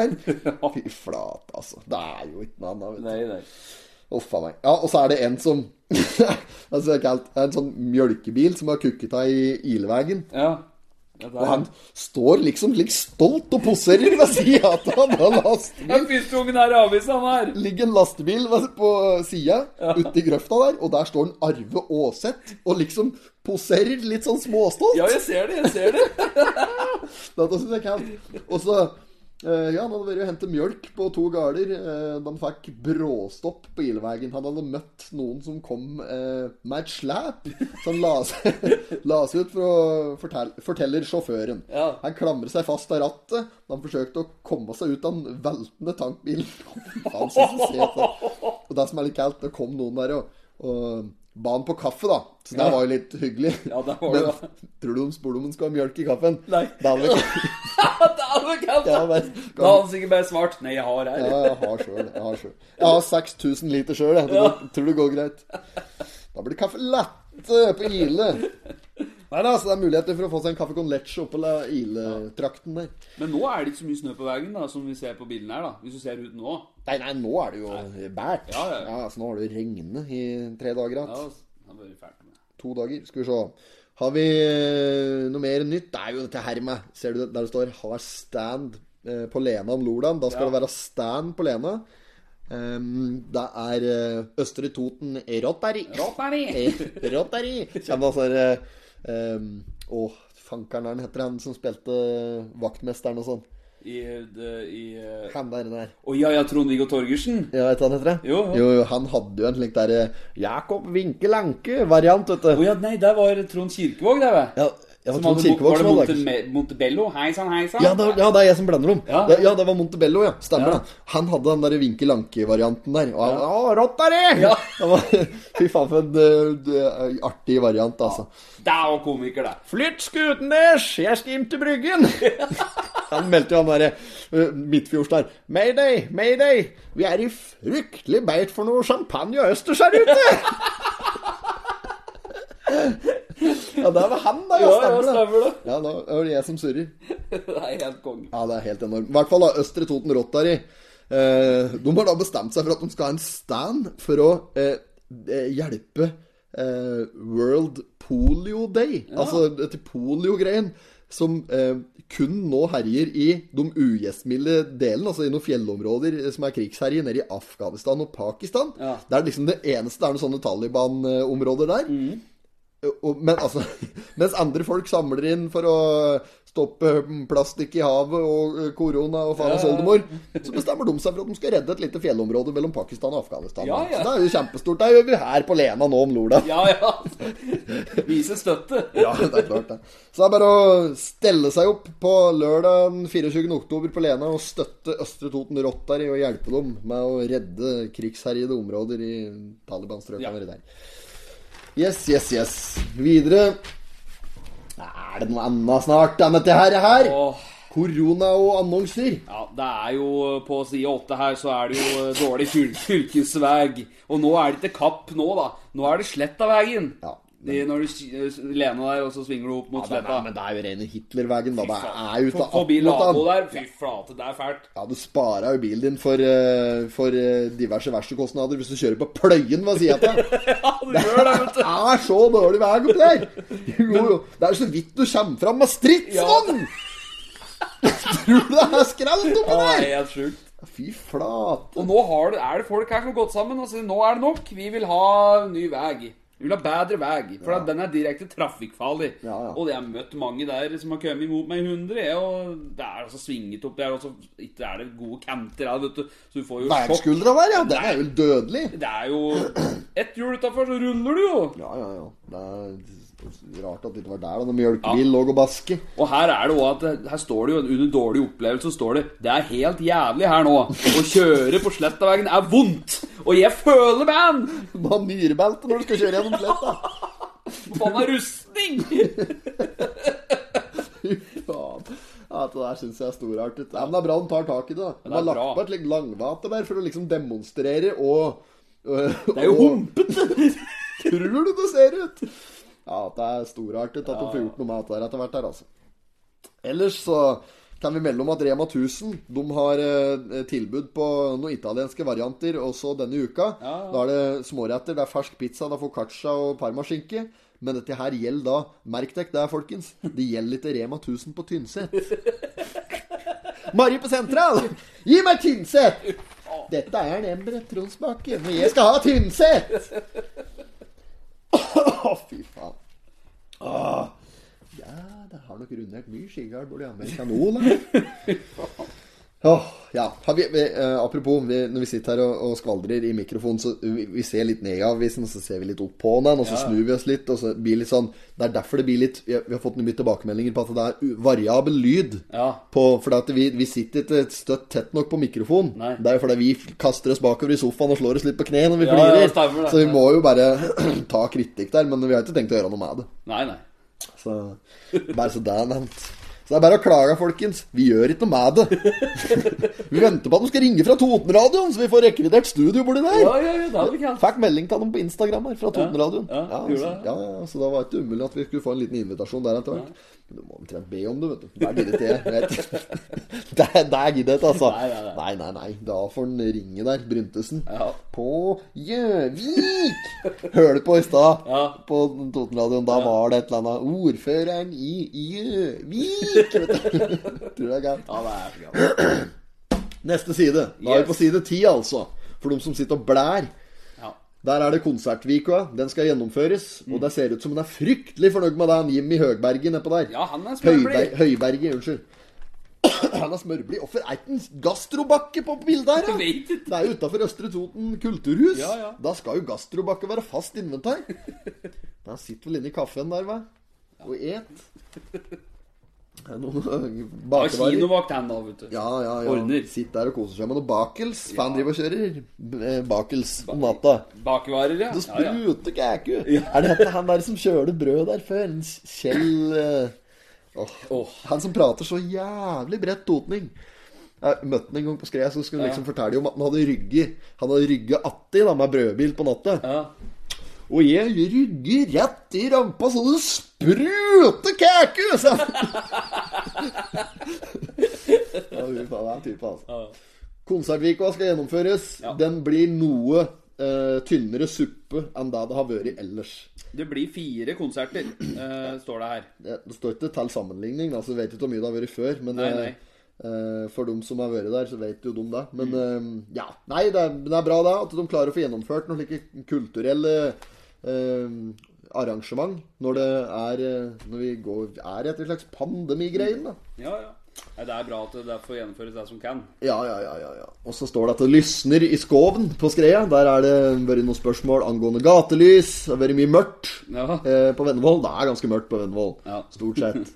her. Fy flate, altså. Det er jo ikke noe annet. vet du.
Nei, nei.
Uff a meg. Ja, og så er det en som altså, det er kaldt. Det er en sånn mjølkebil som har kukket av i ilvegen.
Ja. Ja, det
Og
er-
han står liksom like stolt og poserer ved sida av han. Han laster-
Den første ungen her i avisa, han her.
ligger en lastebil ved- på sida ute i grøfta der, og der står en Arve Aaseth og liksom poserer litt sånn småstolt.
Ja, jeg ser det, jeg ser det.
Dette synes jeg er kaldt. Og så eh, Ja, han hadde vært og hentet mjølk på to gårder. eh, de fikk bråstopp på ilvegen. Han hadde møtt noen som kom eh, med et slep. Så han la seg, la seg ut for å fortelle, forteller sjåføren.
Ja.
Han klamret seg fast av rattet. da Han forsøkte å komme seg ut av den veltende tankbilen. Faen, så sosialt, da. og det som er litt kaldt, det kom noen der og, og ba han på kaffe, da. Så det
Ja.
var jo litt hyggelig.
Ja, det var det, da.
Men tror du de spurte om han skulle ha mjølk i kaffen?
Nei.
Det hadde vi ikke.
Det er jo kaldt.
Ja, men,
Da hadde han sikkert bare svart Nei, jeg har
ja,
her.
jeg har sjøl. Jeg har, selv. Jeg har 6000 liter sjøl, jeg. Det går, Tror det går greit. Da blir det kaffe latte på Ile. Nei da, så det er muligheter for å få seg en kaffe con leche oppå la- Ile-trakten der.
Men nå er det ikke så mye snø på veien, da, som vi ser på bildene her, da. Hvis du ser ut nå.
Nei, nei, nå er det jo bært.
Ja, ja, ja.
så nå har det jo regnet i tre dager
Ja, altså,
igjen.
det blir fælt med.
To dager. Skal vi se. Har vi eh, noe mer nytt? Det er jo dette her med Ser du det- der det står 'har stand' eh, på Lena om Lordan? Da skal
Ja.
det være stand på Lena. Ehm, det er eh, Østre Toten Rotary.
Rotary.
Eh, Rotary. Kjem altså eh, ehm, Å, fankeren er han heter, han som spilte eh, vaktmesteren og sånn.
I, det- i eh,
Han der, den der.
Å ja, ja, Trond-Viggo Torgersen.
Ja, vet du hva han heter? det?
Jo, jo.
jo, han hadde jo en slik der eh, Jakob Winkel Anke-variant, vet
Å
du.
ja, nei, der var Trond Kirkevåg, der, vet
Ja, ja, Trond
hadde-
Kirkevåg
Var det
som hadde-
Monte- Montebello? Hei sann, hei sann.
Ja, det, ja, det er jeg som blander dem.
Ja.
Det, ja, det var Montebello, ja. Stemmer
Ja.
det. Han hadde den der Vinkel Anke-varianten der. Og han, Å, rått er det!
Ja.
Det var, fy faen, for en eh, d- artig variant, altså.
Det er jo komiker, det.
Flytt skuten deres, jeg skal inn til Bryggen! han meldte jo han derre uh, midtfjords der. Mayday, mayday! Vi er i fryktelig beit for noe champagne og østers her ute! ja, det var han, da.
Ja,
Ja,
ja,
stemmer det.
stemmer det.
Ja, nå er det jeg som surrer.
Det er helt konge.
Ja, det er helt enormt. I hvert fall da, Østre Toten Rotary. Eh, de har da bestemt seg for at de skal ha en stand for å eh, eh, hjelpe eh, World Polio Day. Altså dette poliogreien som eh, kun nå herjer i de ugjestmilde delen, altså i noen fjellområder som er krigsherje, nede i Afghanistan og Pakistan.
Ja.
Det er liksom det eneste det er noen sånne Taliban-områder der. Og, men altså, mens andre folk samler inn for å stoppe plastikk i havet og eh, korona og faens
Ja, ja.
oldemor, så bestemmer de seg for at de skal redde et lite fjellområde mellom Pakistan og Afghanistan.
Ja, ja.
Så det er jo kjempestort. Det gjør vi her på Lena nå om Lola.
Ja, ja. Vise støtte.
Ja, det er klart det. Så det er bare å stelle seg opp på lørdag den 24. oktober på Lena og støtte Østre Toten Rotary og hjelpe dem med å redde krigsherjede områder i Taliban-strøkene
Ja.
ja. der. Yes, yes, yes. Videre Er det noe annet snart enn dette her? her?
Åh.
Korona og annonser.
Ja, det er jo på side åtte her, så er det jo eh, dårlig fyl- fylkesveg. Og nå er det ikke Kapp nå, da. Nå er det Slettaveien.
Ja,
De, når du sk- eh, lener deg, og så svinger du opp mot
Ja, det er,
sletta.
men det er jo rene Hitlervegen, da. Det er jo
For- Forbi
ta-
labo der. Fy flate, det er fælt.
Ja, du sparer jo bilen din for, eh, for eh, diverse verkstedkostnader hvis du kjører på pløyen, hva sier jeg til deg?
Ja, du gjør det, vet
Det
du.
er så dårlig vei oppi der! Jo, jo. Det er så vidt du kommer fram med stridsvogn! Tror du det er skrelt
Ja,
oppi
det er
der?
helt sjukt.
Fy flate.
Og nå har det, er det folk her som har gått sammen og sier nå er det nok, vi vil ha ny vei. Vi vil ha bedre vei, for at den er direkte trafikkfarlig.
Ja, ja.
Og jeg har møtt mange der som har kommet imot meg i 100, jeg, og det er altså svinget opp. Det er altså, ikke er det gode kanter her, vet du, så du får jo sjokk.
Vegskuldra der, ja. Den er vel dødelig.
Det er jo ett hjul utafor, så ruller du jo.
Ja, ja, ja. Det er rart at det ikke var der da når mjølkebil lå og baske.
Og her er det også at det- Her står det jo under dårlig opplevelse så står det Det er helt jævlig her nå. Å kjøre på Slettaveien er vondt. Og jeg føler man!
Bare nyrebelte når du skal kjøre gjennom sletta.
Faen meg rustning!
Fy faen. Ja, det der syns jeg er storartet. Ja, men det er bra de tar tak i det. da. De
det er
har lagt
bra.
på et litt langvate der for å liksom demonstrere og Det
er jo
humpete! Tror du det ser ut? Ja, det er storartet at de får gjort noe med dette der etter hvert her, altså. Ellers så kan vi melde om at Rema 1000 de har eh, tilbud på noen italienske varianter også denne uka. Da er det småretter. Det er fersk pizza, det er foccaccia og parmaskinke. Men dette her gjelder da Merk dere det, folkens. Det gjelder ikke Rema 1000 på Tynset. Mari på Sentral! Gi meg Tynset! Dette er en Embret Tronsbakken, og jeg skal ha Tynset! Å, fy faen. Åh. Ja, det har nok rundert mye skigard både i Amerika og Nordland. Åh, ja. Har vi, vi, eh, apropos, vi, når vi sitter her og, og skvaldrer i mikrofonen, så vi, vi ser litt ned i avisen, og så ser vi litt opp på den, og så snur vi oss litt, og så blir litt sånn Det er derfor det blir litt Vi har, vi har fått mye tilbakemeldinger på at det er u- variabel lyd.
Ja.
På, fordi at vi, vi sitter ikke støtt tett nok på mikrofonen.
Nei.
Det er jo fordi vi f- kaster oss bakover i sofaen og slår oss litt på kne når vi
Ja,
flirer.
ja, stemmer det.
så vi må jo bare ta kritikk der, men vi har ikke tenkt å gjøre noe med det.
Nei, nei.
Så bare så det er nevnt. Så det er bare å klage, folkens. Vi gjør ikke noe med det. vi venter på at de skal ringe fra Totenradioen, så vi får rekvidert studio borti der.
Ja, ja, ja, det hadde vi ikke hatt.
Fikk melding til dem på Instagram her fra Totenradioen.
ja, gjorde
altså,
det?
ja, ja, så da var det ikke umulig at vi skulle få en liten invitasjon der etter hvert. Men Du må omtrent be om det, vet du. Der gidder ikke jeg. vet du. Der, der gidder jeg ikke, altså.
Nei, nei, nei.
nei, nei, nei. Da får han ringe der, Bryntesen.
Ja.
På Gjøvik! Hørte på i stad,
Ja.
på Totenradioen. Da var det et eller annet Ordføreren i Gjøvik! Vet du. Tror det er gærent.
Ja, det er så galt.
Neste side. Da er vi
Yes.
på side ti, altså. For dem som sitter og blær.
Ja.
Der er det konsertvika. Den skal gjennomføres.
Mm.
Og det ser ut som hun er fryktelig fornøyd med det han Jimmy Høgberget nedpå der.
Ja, han er
Høyberg,
smørblid.
Høyberget, unnskyld. Han er smørblid. Hvorfor er ikke en gastrobakke på bildet her? da?
Jeg vet ikke.
Det er jo utafor Østre Toten kulturhus.
Ja, ja.
Da skal jo gastrobakke være fast inventar. Men Han sitter vel inne i kaffen der, hva? Og et. Det er noen øh,
Ja,
bakevarer.
kinovakt han da, vet du.
Ja, ja, ja.
Ordner.
Sitt der og koser seg med noen bakels. Faen driver og kjører eh, bakels om natta.
Bakevarer, ja.
Det
Ja, ja.
spruter kæku. Er det dette han der som kjølte brød der før? En Kjell eh, åh.
Åh.
Han som prater så jævlig bredt totning. Jeg møtte han en gang på skred, så skulle han liksom fortelle om at han hadde rygget Han hadde rygget atti da, med brødbil på natta.
Ja.
Og jeg rygger rett i rampa så det spruter kæku! sa han. ja, fy faen, det er en type, altså. Konsertvika skal gjennomføres. Den blir noe eh, tynnere suppe enn det det har vært ellers.
Det blir fire konserter, eh, står det her.
Det det står ikke til sammenligning, da, så jeg vet ikke hvor mye det har vært før. Men
Nei, nei.
eh, eh, for dem som har vært der, så vet jo de det. Men eh, ja. Nei, det er, det er bra da at de klarer å få gjennomført noen slike kulturelle eh, arrangement når det er eh, Når vi går, er i et slags pandemigreie. da.
Ja, ja. Nei, det er bra at det der får gjennomføres det som kan.
Ja, ja, ja, ja, ja. Og så står det at det lysner i skoven på skreia. Der er det vært noen spørsmål angående gatelys. Det har vært mye mørkt
Ja.
eh, på Vennevoll. Det er ganske mørkt på Vennevoll.
Ja.
Stort sett.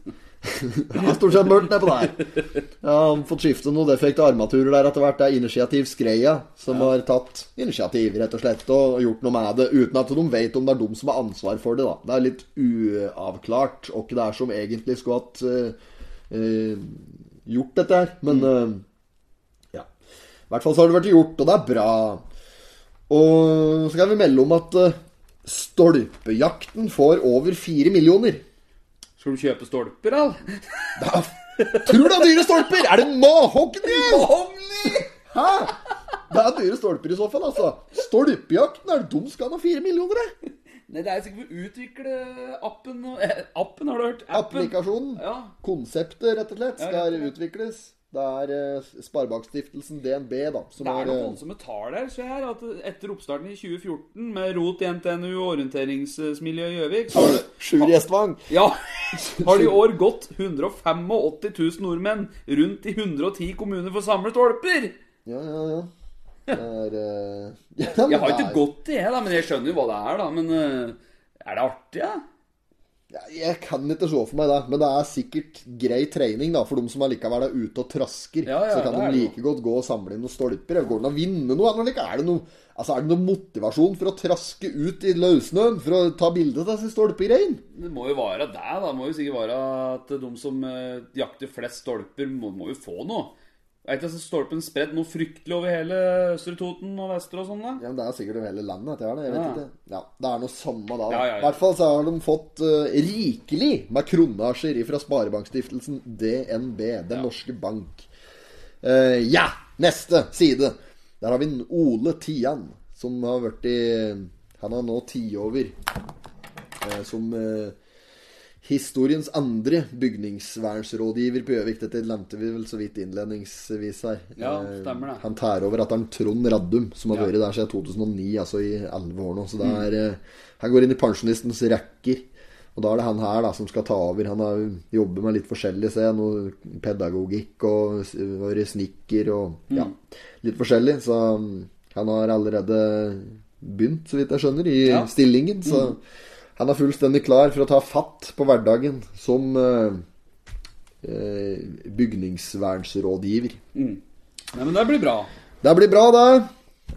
det er stort sett mørkt nedpå der. Ja, han har fått skifte noen defekte armaturer der etter hvert. Det er Initiativ Skreia som har tatt initiativ, rett og slett, og gjort noe med det. Uten at de vet om det er de som har ansvar for det, da. Det er litt uavklart hva det er som egentlig skulle hatt eh, eh, gjort dette her. Men eh, ja. I hvert fall så har det vært gjort, og det er bra. Og så kan vi melde om at eh, Stolpejakten får over fire millioner.
Skal du kjøpe stolper, eller?
Da, tror du det er dyre stolper? Er det mahogni?
Omni!
Hæ? Det er dyre stolper i så fall, altså. Stolpejakten, er det dum skal han ha fire millioner? det?
Nei, det er sikkert for å utvikle appen og eh, Appen, har du hørt?
Applikasjonen.
Ja.
Konseptet, rett og slett,
Ja, rett og
skal
slett.
utvikles. Det er eh, Sparebankstiftelsen DNB, da, som
Det er
har
noen
eh,
voldsomme tall her, ser jeg her. At etter oppstarten i 2014 med rot i NTNU og orienteringsmiljøet i Gjøvik, så har det
Sjur Gjestvang.
Ja! Har det i år gått 185 000 nordmenn rundt i 110 kommuner for å samle stolper?
Ja, ja, ja. Det er eh, ja,
Jeg har ikke gått i det, da, men jeg skjønner jo hva det er, da. Men eh, er det artig, da?
Jeg kan ikke se for meg det, men det er sikkert grei trening da, for de som allikevel er ute og trasker.
Ja, ja,
så kan
det er
de
det
like godt gå og samle inn noen stolper. Eller går det an å vinne noe? Eller ikke? Er det noe, altså, er det noe motivasjon for å traske ut i løssnøen for å ta bilde av disse stolpegreiene?
Det må jo være det, da. Det må jo sikkert være at de som eh, jakter flest stolper, må, må jo få noe. Er ikke disse stolpene spredd noe fryktelig over hele Østre Toten og Vestre og sånn, da?
Ja, men det er sikkert over hele landet. dette her, da. Jeg vet
Ja.
ikke. Ja, det er noe samme da. da.
Ja, ja, ja.
I hvert fall så har de fått eh, rikelig med kronasjer fra Sparebankstiftelsen DNB, Den norske bank. Eh, ja! Neste side. Der har vi en Ole Tian, som har vært i Han er nå tiår. eh, som eh, historiens andre bygningsvernsrådgiver på Gjøvik. Dette nevnte vi vel så vidt innledningsvis her.
Ja,
Eh,
stemmer det.
Han tær over at det er en Trond Raddum som har
Ja. Mm.
vært der siden 2009, altså i 11 år nå. Så det er eh, Han går inn i pensjonistens rekker. Og da er det han her da som skal ta over. Han har jobber med litt forskjellig, ser jeg. Noe pedagogikk og s- vært snekker og
Mm.
ja, litt forskjellig. Så mm, han har allerede begynt, så vidt jeg skjønner, i
Ja. Mm.
stillingen. Så han er fullstendig klar for å ta fatt på hverdagen som eh, eh, bygningsvernsrådgiver.
Nei, men det blir bra.
Det blir bra, det.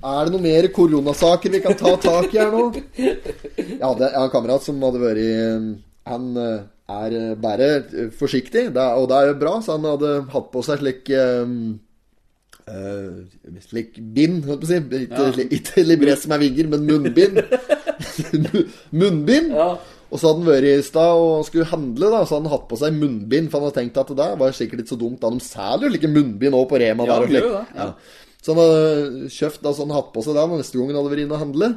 Er det noe mer koronasaker vi kan ta tak i her nå? Jeg hadde jeg har en kamerat som hadde vært i- Han eh, er eh, bare eh, forsiktig, det er, og det er jo bra, så han hadde hatt på seg slik eh, eh, slik bind, holdt på å si. Ikke,
Ja.
slik- ikke librett som er vinger, men munnbind. Mu- munnbind!
Ja.
Og så hadde han vært i stad og skulle handle, da, så hadde han hatt på seg munnbind. For han hadde tenkt at det der var sikkert ikke så dumt. Da de selger jo like munnbind òg på Rema.
Ja,
der og
de gjør
slik.
jo det, ja.
Så han hadde kjøpt altså han hadde hatt på seg den neste gang han hadde vært inne og handle.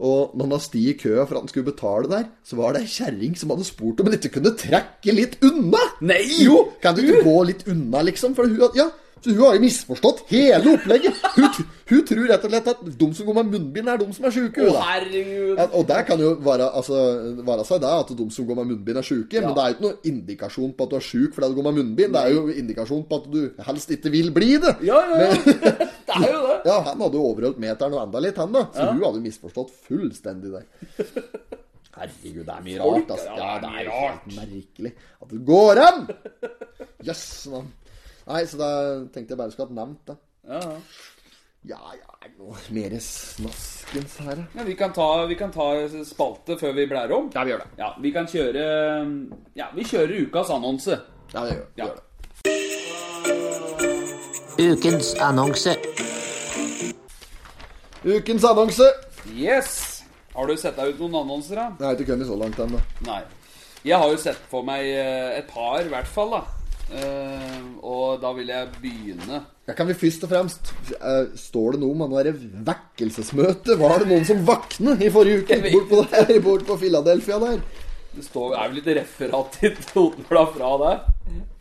Og når han hadde sti i køa for at han skulle betale der, så var det ei kjerring som hadde spurt om han ikke kunne trekke litt unna.
Nei!
Jo, kan du ikke gå litt unna, liksom? For hun, ja, så hun har jo misforstått hele opplegget. Hun, tr- hun tror rett og slett at de som går med munnbind, er de som er sjuke. hun,
Å,
da.
herregud.
Ja, og der kan jo være, altså, være seg det at de som går med munnbind, er sjuke. Men det er jo ikke noen indikasjon på at du er sjuk fordi du går med munnbind. Det er jo indikasjon på at du helst ikke vil bli det.
Ja, ja, ja. Det er jo det.
Ja, Han hadde jo overholdt meteren og enda litt, han da. Så hun hadde jo misforstått fullstendig der. Herregud, det er mye
Folk,
rart, altså.
ja,
Ja,
det
det
er
er jo
mye
helt merkelig at det går an! Jøss, mann. Nei, så da tenkte jeg bare skulle hatt nevnt det.
Ja, ja.
Ja, ja, er det noe mer snaskens her, da?
Ja, vi, kan ta, vi kan ta spalte før vi blærer om.
Ja, vi gjør det.
Ja, vi kan kjøre Ja, vi kjører ukas annonse.
Ja, vi gjør, vi
Ja.
gjør det.
Ukens annonse.
Ukens annonse.
Yes! Har du sett deg ut noen annonser, da?
Jeg har ikke kommet så langt ennå.
Nei. Jeg har jo sett for meg eh, et par, i hvert fall. da Eh, Og da vil jeg begynne.
Jeg kan vi først og fremst eh, Står det noe om han der vekkelsesmøtet? Var det noen som vakne i forrige uke?
Jeg vet
Bort på, der, bort på Philadelphia der?
Det står, er vel litt referat i Totenbladet fra der?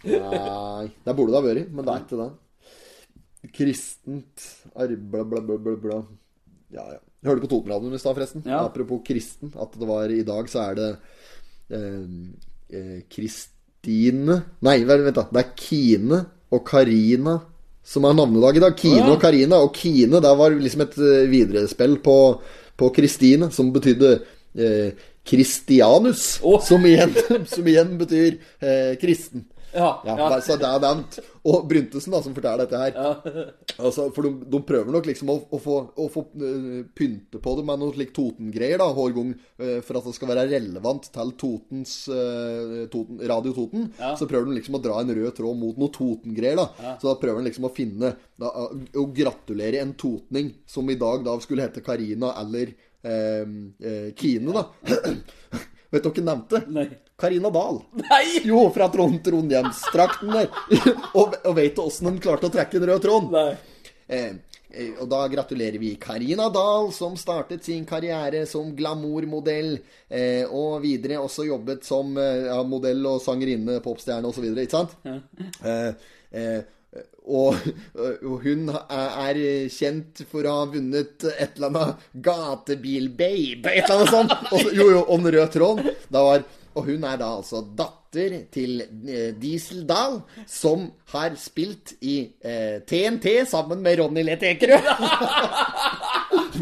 Nei, der burde det ha vært, men det er ikke det. Kristent arbeid, bla, bla, bla, bla. Ja, ja. Jeg hørte på Totenradioen i stad, forresten.
Ja.
Apropos kristen. At det var i dag, så er det eh, eh, Kristine Nei, vel, vent, da. Det er Kine og Karina som er navnedag i dag.
Å,
Kine
ja.
og Karina. Og Kine, det var liksom et eh, viderespill på, på Kristine, som betydde eh, Kristianus.
Å.
Som, igjen, som igjen betyr eh, kristen.
Ja.
Ja,
ja.
der- Så det er nevnt. Og Bryntesen, da, som forteller dette her. Altså, for de, de prøver nok liksom å, å få, å få øh, pynte på det med noe slik Toten-greier, da, hver gang. øh, for at det skal være relevant til Totens øh, Toten, Radio Toten. Så prøver de liksom å dra en rød tråd mot noe Toten-greier, da. Så da prøver de liksom å finne da, Å gratulere en totning som i dag da skulle hete Karina eller eh, eh, Kine, da Vet du hva hun nevnte?
Nei.
Karina Dahl.
Nei!
Jo, fra Trond Trondhjemstrakten der. og, og veit du åssen de klarte å trekke en rød tråd?
Nei.
Eh, eh, og da gratulerer vi Karina Dahl, som startet sin karriere som glamourmodell, eh, og videre også jobbet som eh, ja, modell og sangerinne, popstjerne osv., ikke sant? Eh, eh, og, og hun er kjent for å ha vunnet et eller annet Gatebil-babe, et eller annet sånt. Og så- jo, jo, om rød tråd. Da var, og hun er da altså datter til eh, Diesel Dahl, som har spilt i eh, TNT sammen med Ronny Lett Ekerød.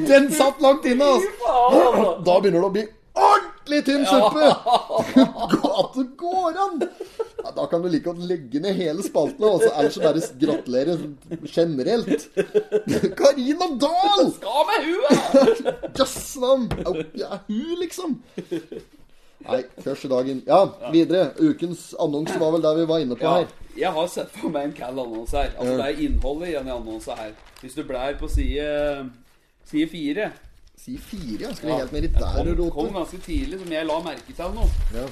Den satt langt inne, altså.
Faen!
Da begynner det å bli ordentlig tynn suppe! At det går an! Ja, da kan du like godt legge ned hele spalten, altså, ellers så bare gratulerer generelt. Karina Dahl!
Av med huet!
Jøss navn! Au, Ja, hun, liksom. Nei, første dagen. Ja, videre. Ukens annonse var vel der vi var inne på
Ja,
her.
jeg har sett for meg en kall annonse her. Altså, det er innholdet i en annonse her. Hvis du blær på side, side 4
Si fire, ja. Skal vi helt ned i
kom,
der og
kom
rote?
ganske tidlig, som jeg la merke til nå.
Ja.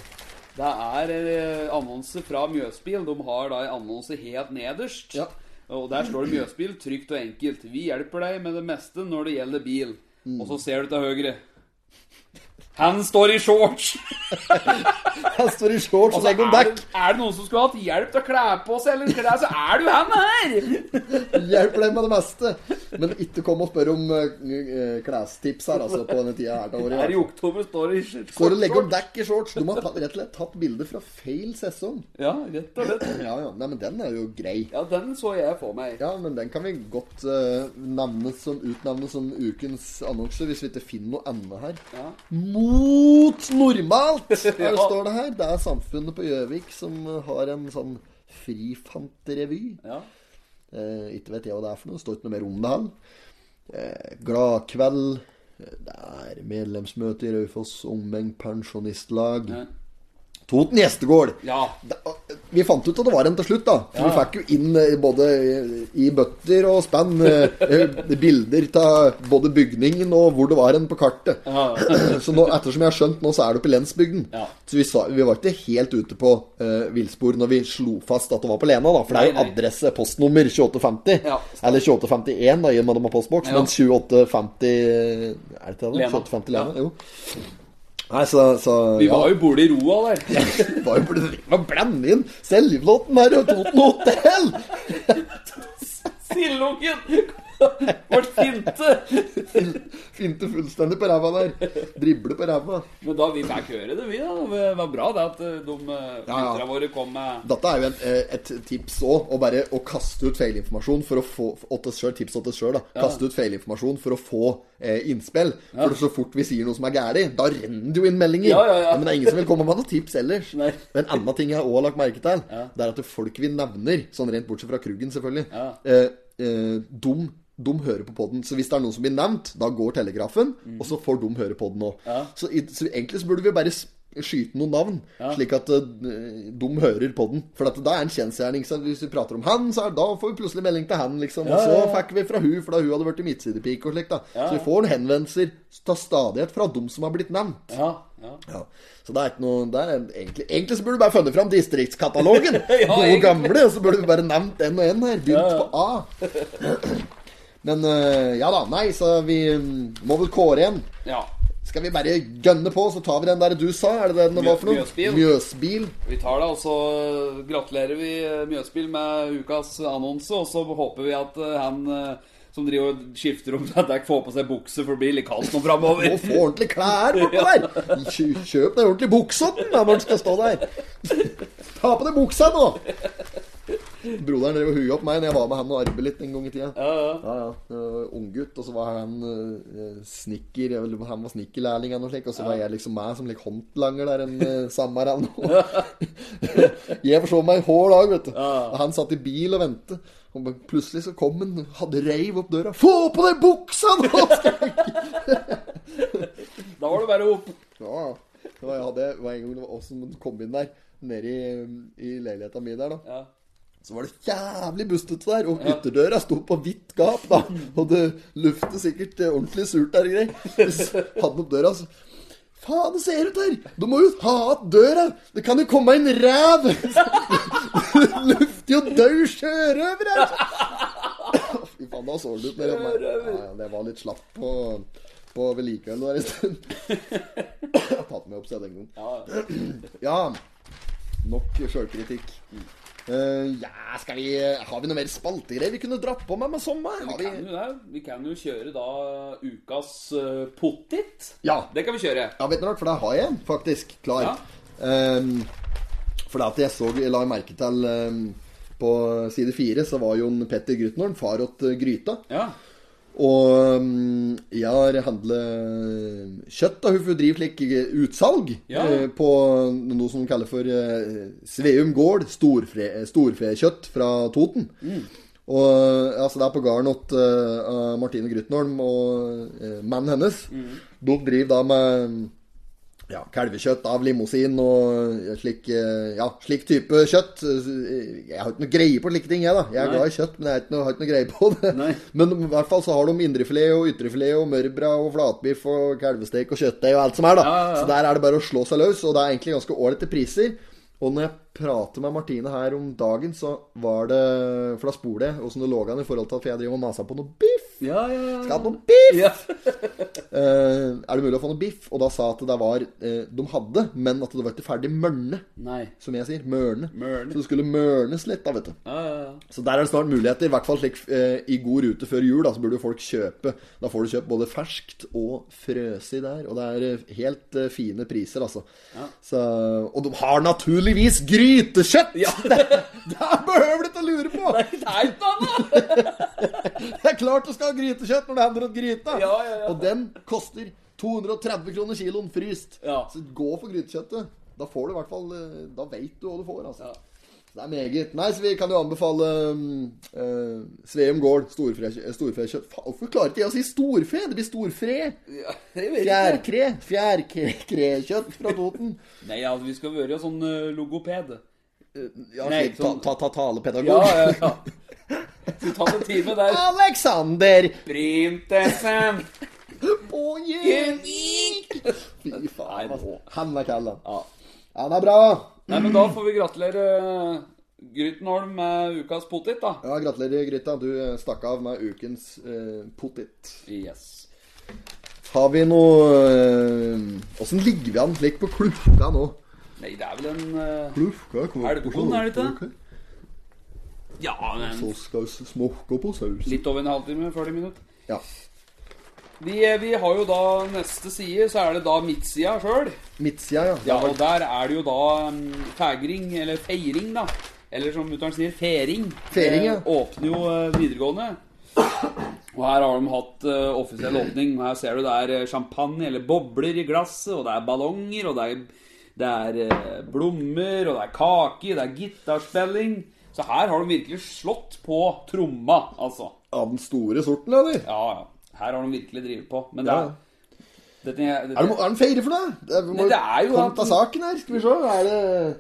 Det er eh, annonse fra Mjøsbil. De har da en annonse helt nederst.
Ja.
Og der står det Mjøsbil trygt og enkelt. Vi hjelper deg med det meste når det gjelder bil. Og så ser du til høyre. Han står i shorts!
Han står i shorts og
Altså, er,
legger om dekk.
det, er det noen som skulle hatt hjelp til å kle på seg, eller klær, så er det jo han her!
Hjelper deg med det meste. Men ikke kom og spør om eh, eh, klestips her, altså, på denne tida her til året. i hvert
Er
fall.
i oktober, står i shorts.
Går og legger om dekk i shorts. Du må ha tatt- rett og slett tatt bilde fra feil sesong.
Ja, rett og slett.
Ja, ja. Nei, men den er jo grei.
Ja, den så jeg for meg.
Ja, men den kan vi godt eh, navne som, utnevne som ukens annonse, hvis vi ikke finner noe annet her.
Ja.
Mot normalt! Her
Ja.
står det her. Det er Samfunnet på Gjøvik som har en sånn frifantrevy.
Ja.
Eh, ikke vet jeg hva det er for noe. Står ikke noe mer om det her. Eh, Gladkveld. Eh, Det er medlemsmøte i Raufoss Omeng Pensjonistlag.
Ja.
Toten gjestegård.
Ja.
Det, vi fant ut at det var en til slutt, da. Så vi fikk jo inn eh, både i bøtter og spann eh, eh, bilder av både bygningen og hvor det var en på kartet. Så nå, ettersom jeg har skjønt nå, så er det oppe i lensbygden.
Ja.
Så vi, sa, vi var ikke helt ute på eh, villspor når vi slo fast at det var på Lena, da. For det er jo
Nei, nei.
adresse, postnummer 2850.
Ja.
Eller 2851, da, i og med at de har postboks.
Ja.
Men 2850 Er det ikke det? da?
Lena.
2850 Lena,
Ja.
jo. Nei, så, så
Vi
ja.
var jo borte i roa der.
Det var jo blitt det var blande inn selvlåten her og Toten Hotell!
Sildungen vårt finte!
Finte fullstendig på ræva der. Drible på ræva.
Men da vi fikk høre det, vi da. Det var bra det at eh, de eh,
ja.
lytterne våre kom med
Dette er jo et, et tips òg, å bare å kaste ut feilinformasjon for å få åt oss selv, Tips åt oss selv, da. Kaste ut feilinformasjon for å få eh, innspill. For så fort vi sier noe som er galt, da renner det jo inn meldinger.
Ja, ja, ja.
Men det er ingen som vil komme med noen tips ellers.
Nei.
Men en annen ting jeg òg har lagt merke til, det er at folk vi nevner, sånn rent bortsett fra Kruggen, selvfølgelig,
Ja.
eh, eh, dum de hører på podden, så hvis det er noen som blir nevnt, da går telegrafen, og så får de høre på den òg. Så, i- så egentlig så burde vi bare s- skyte noen navn, slik at eh, de hører på den. For at det er en kjensgjerning. Så hvis vi prater om han, så er, da får vi plutselig melding til han, liksom. Og så fikk vi fra hun, for da hun hadde vært i midtsidepike og slikt. da. Så vi får henvendelser til stadighet fra dem som har blitt nevnt.
Ja. ja.
Ja. Så det er ikke noe det er en- egentlig, egentlig så burde du bare funnet fram distriktskatalogen. Gode
egentlig.
gamle. Og så burde du bare nevnt en og en her. Begynt på A. Men eh, ja da. Nei, så vi mm, må vel kåre en.
ja.
Skal vi bare gønne på, så tar vi den der du sa? Er det den det var for noe?
Mjøsbil.
Mjøsbil.
Vi tar det, og så eh, gratulerer vi eh, Mjøsbil med ukas annonse. Og så håper vi at eh, han eh, som driver og skifter om til dekk, får på seg bukse, for det blir litt kaldt nå
Må
framover.
få ordentlige klær bortpå der! Kjø- Kjøp deg ordentlig bukse opp når man skal stå der. Ta på deg buksa nå! Broderen drev og huet opp meg når jeg var med han og arbeidet litt en gang i tida. Ja, ja. Eh, Unggutt, og så var han eh, snekker eller Han var snekkerlærling eller noe slikt, og så var jeg liksom meg som like håndlanger der en uh, sommer eller noe. jeg forså meg hver dag, vet du. Og han satt i bil og ventet. Og bare plutselig så kom han, hadde reiv opp døra. 'Få på deg buksa nå!'
Da var det bare opp.
Ja, ja. Det var, jeg hadde, det var en gang det var oss som kom inn der, nede i, i leiligheta mi der, da.
Ja.
Så var det jævlig bustete der, og ytterdøra sto på vidt gap, da. Og det luftet sikkert eh, ordentlig surt der og greier. Hvis hadde opp døra, så Faen, det ser ut her! Du må jo ha opp døra! Det kan jo komme en ræv! Det lufter jo død sjørøver her! Fy faen, da så det ut mer enn meg. Ja, ja, det var litt slapp på, på vedlikeholdet der en stund. Jeg har tatt meg opp siden den gangen. Ja. Nok sjølkritikk. Eh, ja, skal vi Har vi noe mer spaltegreier vi kunne dratt på med med sommer? Har
Vi
vi
kan jo det. Vi kan jo kjøre da ukas eh, pottit.
Ja.
Det kan vi kjøre.
Ja, vet du noe, for det har jeg en, faktisk, klar.
Ja.
Ehm, for det at jeg så, jeg la merke til ehm, på side fire, så var Jon Petter Grytnorn far åt eh, gryta.
Ja.
Og ehm, jeg har handlet mm, kjøtt av hun driver slik eh, utsalg
Ja.
eh, på noe som de kaller for eh, Sveum gård, storfre, eh, storfekjøtt fra Toten. Og eh, altså Det er på gården åt eh, av Martine Grytnorm og eh, mannen hennes. De driver da med mm, ja, kalvekjøtt av limousin og slik, eh, ja, slik type kjøtt. Jeg har ikke noe greie på slike ting, jeg, da. Jeg er
Nei.
glad i kjøtt, men jeg har ikke noe, har ikke noe greie på det.
Nei.
Men i hvert fall så har de indrefilet og ytrefilet og mørbra og flatbiff og kalvestek og kjøttdeig og alt som er, da.
Ja, ja, ja.
Så der er det bare å slå seg løs, og det er egentlig ganske ålreite priser. Og når jeg prater med Martine her om dagen, så var det For da spoler jeg åssen det lå an i forhold til at jeg driver og maser på noe biff.
Ja, ja, ja.
Skal ha noe biff!
ja.
Eh, er det mulig å få noe biff? Og da sa at det var eh, De hadde, men at det var ikke ferdig mørne.
Nei.
Som jeg sier. Mørne.
Mørne.
Så det skulle mørnes litt, da, vet du.
Ja, ja, ja.
Så der er det snart muligheter. I hvert fall slik eh, i god rute før jul, da, så burde jo folk kjøpe. Da får du kjøpt både ferskt og frøsig der. Og det er eh, helt eh, fine priser, altså. Så, og de har naturligvis grytekjøtt! det, det behøver du ikke å lure på!
Det er ikke noe annet!
Det er klart du skal ha grytekjøtt når det handler om gryta!
Ja, ja, ja.
Og den koster 230 kroner kiloen fryst.
Ja.
Så gå for grytekjøttet. Da får du i hvert fall eh, Da veit du hva du får, altså.
Ja.
Så Det er meget. Nei, så vi kan jo anbefale um, eh, Sveum gård, storfe- storfekjøtt Faen, Hvorfor klarer ikke jeg å si storfe? Det blir storfre.
Ja, det vet jeg ikke.
Fjærkre. Fjærkrekjøtt fra Toten.
Nei, altså, vi skal være sånn eh, logoped.
Eh, Ja,
Nei,
slik ta-
sånn-
ta- ta-
Ja,
talepedagog.
ja, Ah. ja. Så vi tar en time der.
Alexander
Brintesen!
og Jenny! Fy
Nei,
faen,
nå.
altså. Han er kall, han.
Ja.
Ja, det er bra.
Nei, men da får vi gratulere Grytenholm med ukas potet, da.
Ja, gratulerer, Grytta. Du eh, stakk av med ukens eh, potet.
Yes.
Har vi noe eh, Åssen ligger vi an slik på klukka nå?
Nei, det er vel en eh,
Klukka
Er det på, er det ikke? Ja,
Så
men
skal vi smokke på sausen.
litt over en halvtime, 40 minutter.
Ja.
Vi, eh, vi har jo da neste side, så er det da midtsida sjøl.
Midtsida, ja.
Ja, og der er det jo da mm, fegring, eller feiring, da. Eller som mutter'n sier, fering.
Fering, ja.
Eh, Åpner jo eh, videregående. Og her har de hatt eh, offisiell åpning. Her ser du det er eh, champagne eller bobler i glasset, og det er ballonger, og det er, det er eh, blomster, og det er kake, det er gitarspilling. Så her har de virkelig slått på tromma, altså.
Av den store sorten, eller?
Ja, ja. Her har de virkelig drevet på. Men det
Ja.
er, dette, dette,
Er det, er den feire for deg? Det, vi må
Nei, det er jo
komme
at-
til saken her. Skal vi se. Er det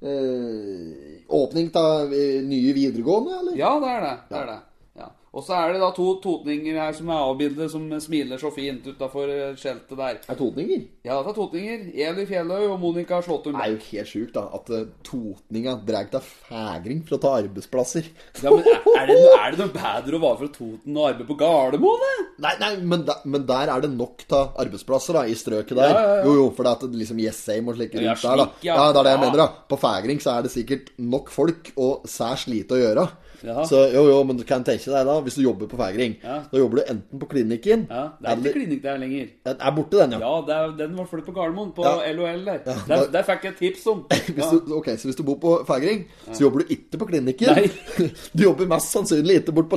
eh, åpning av eh, nye videregående, eller?
Ja, det er det. det, er det. Ja. Og så er det da to totninger her som er avbildet, som smiler så fint utafor eh, skjeltet der.
Er det totninger?
Ja, det er totninger. Eli Fjelløy og Monica Slåttum.
Det er jo helt sjukt, da. At eh, totninga drar til fegring for å ta arbeidsplasser.
Ja, men er, er, det, er det noe bedre å være fra Toten og arbeide på Gardermoen? da?
Nei, nei men, da- men der er det nok av arbeidsplasser da, i strøket der.
Ja, ja, ja.
Jo, jo, for det at det liksom Jessheim og slike rundt
Ja,
der. da
slik, ja.
ja. Det er det jeg
Ja.
mener. da På Fægring så er det sikkert nok folk og særs lite å gjøre.
Ja.
Så jo, jo, men du kan tenke deg da, hvis du jobber på Fægring,
Ja.
da jobber du enten på klinikken
Ja, det er
eller-
ikke klinikk der lenger.
Den er borte, den, ja.
Ja, det er, den var flyttet på Gardermoen, på
Ja.
LOL der.
da-
der. Der fikk jeg et tips om.
Hvis
Ja.
du, ok, Så hvis du bor på Fægring, så jobber du ikke på klinikken.
Nei.
Du jobber mest sannsynlig ikke bort på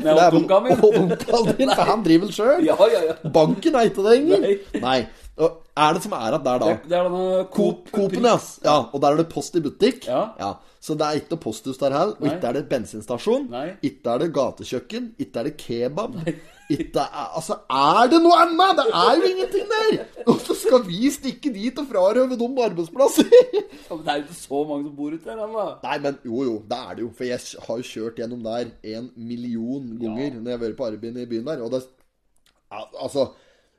Nei,
der. for det er-
og onkelen min.
og onkelen din, for han driver vel sjøl.
Ja, ja, ja.
Banken er ikke det lenger.
Nei.
Nei. Og er det som er at der, da?
Det er denne
Coop- Coopen, ja. ja. Og der er det post i butikk.
Ja.
Så det er ikke noe posthus der her, og
Nei.
ikke er det bensinstasjon,
Nei.
ikke er det gatekjøkken, ikke er det kebab. Ikke er, altså, er det noe annet? Det er jo ingenting der! Hvorfor skal vi stikke dit og frarøve dem arbeidsplasser?
Ja, men det er jo ikke så mange som bor ute der ennå.
Nei, men jo, jo, det er det jo. For jeg har jo kjørt gjennom der en million ganger når jeg har vært på arbeid i byen der. Og det al- Altså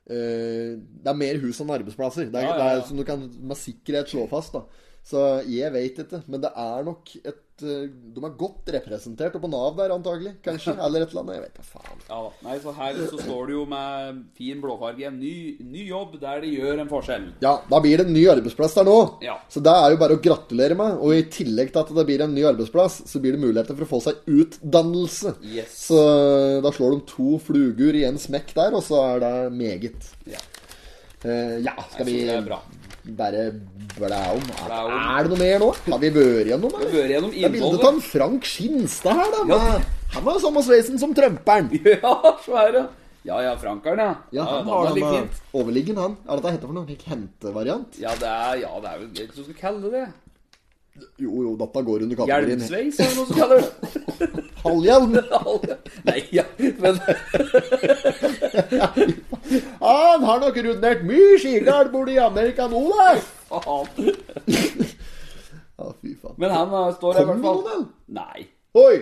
eh, Det er mer hus enn arbeidsplasser. Det er,
Ja, ja, ja.
det er som du kan med sikkerhet slå fast. da Så jeg veit ikke. Men det er nok et eh, De er godt representert oppe på Nav der, antagelig. Kanskje. Eller et eller annet. Jeg vet da faen.
Ja, da. nei, så her så står det jo med fin blåfarge en ny, ny jobb der de gjør en forskjell.
Ja, da blir det en ny arbeidsplass der nå.
Ja.
Så det er jo bare å gratulere med. Og i tillegg til at det blir en ny arbeidsplass, så blir det muligheter for å få seg utdannelse.
Yes.
Så eh, da slår de to flugur i en smekk der, og så er det meget.
Ja.
Eh, ja, skal
Jeg
vi
synes det er bra.
bare blæ om? Er,
Blæ om.
er det noe mer nå? Har vi vært gjennom,
Vi har
eller?
vært gjennom
Det er bildet av
innholdet.
en Frank Skinstad her, da.
Ja.
Med, han var jo samme sveisen som trømperen.
Ja, svære. Ja ja, Frankeren, ja.
Ja, han
da var
var
det
den
litt fint.
eh, overliggen, han. Er dette hette for noe? Hente-variant?
Ja, det er ja, det er jo ikke du skal kalle det.
Jo, jo, dette går under kategorien
Hjelmsveis, er det noe som kaller det?
halvhjelm.
Nei, ja, men
Han har nok rundert mye skigard borte i Amerika nå, da.
faen.
Ja, fy faen.
Men han eh, står her i
Kom det
hvert
noe,
fall.
da?
Nei.
Oi!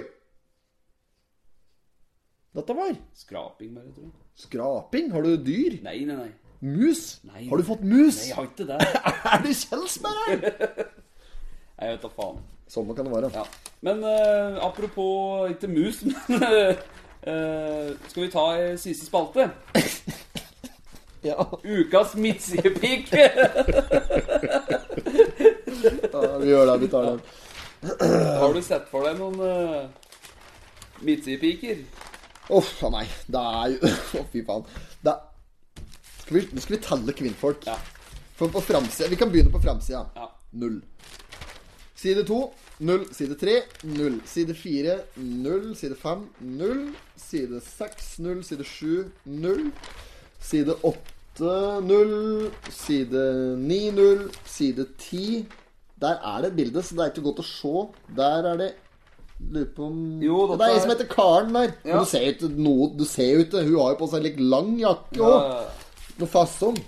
Dette var
Skraping, bare, tror jeg.
skraping. Har du dyr?
Nei, nei, nei.
Mus?
Nei.
Har du fått mus?
Nei, jeg har ikke det.
Er det Kjelsberg her?
Jeg vet da faen.
Sånn kan det være.
Ja. Men eh, apropos ikke mus, men eh, skal vi ta eh, siste spalte?
Ja.
Ukas midtsidepike!
vi gjør det. Vi tar den.
Har du sett for deg noen uh, midtsidepiker?
Uff a meg. Det er jo Å, fy faen. Det er... skal, vi, nå skal vi telle kvinnfolk.
Ja.
For på framsida Vi kan begynne på framsida.
Ja.
Null. Side to null. Side tre null. Side fire null. Side fem null. Side seks null. Side sju null. Side åtte null. Side ni null. Side ti Der er det et bilde, så det er ikke godt å se. Der er det Lurer på om
Jo,
Det er
dette
en som
er-
heter Karen der.
Ja.
Men du ser jo ikke noe Du ser jo ikke Hun har jo på seg litt lang jakke òg. Noe fasong.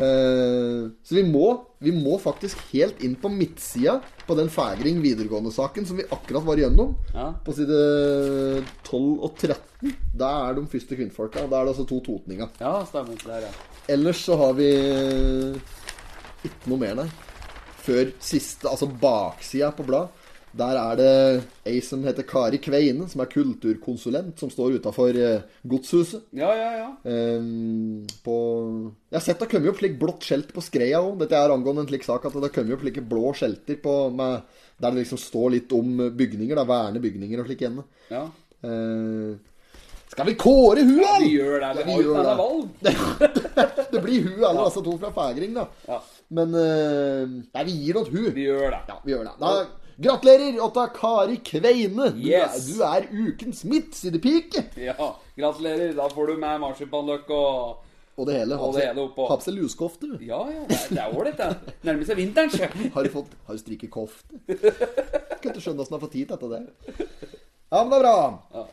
Eh, så vi må, vi må faktisk helt inn på midtsida på den Fægring videregående-saken som vi akkurat var igjennom.
Ja.
På side 12 og 13. Da er de første kvinnfolka. Da er det altså to totninga.
ja, stemmer. Det er, ja.
Ellers så har vi eh, ikke noe mer, nei. Før siste, altså baksida på blad, der er det ei som heter Kari Kveine, som er kulturkonsulent, som står utafor godshuset.
ja, ja, ja.
Ehm, på Jeg har sett det har kommet opp slik blått skjelt på skreia òg. Dette er angående en slik sak at det har kommet opp slike blå skjelter på med, der det liksom står litt om bygninger, da, verne bygninger og slik igjen.
ja.
Ehm, skal vi kåre hun, da?
Vi gjør det. Vi
Ja, vi
har jo
gjør
ikke
det.
annet valg.
Det blir hun eller altså to fra Fægring, da.
Ja.
Men eh, Nei, vi gir det til hun.
Vi gjør det.
Ja, vi gjør det. Da, gratulerer, Otta Kari Kveine. Du,
Yes.
er, du er ukens midtsidepike.
Ja. Gratulerer. Da får du meg marsipanløk og
Og det hele.
Og det hele oppå.
Har på seg lusekofte. du.
Ja, ja. Det er- det er ålreit, det. Nærmer seg vinteren, sjø.
Har du fått Har du strikket kofte? Kan ikke skjønne åssen du har fått tid til dette der. Ja, men det er bra.
Ja.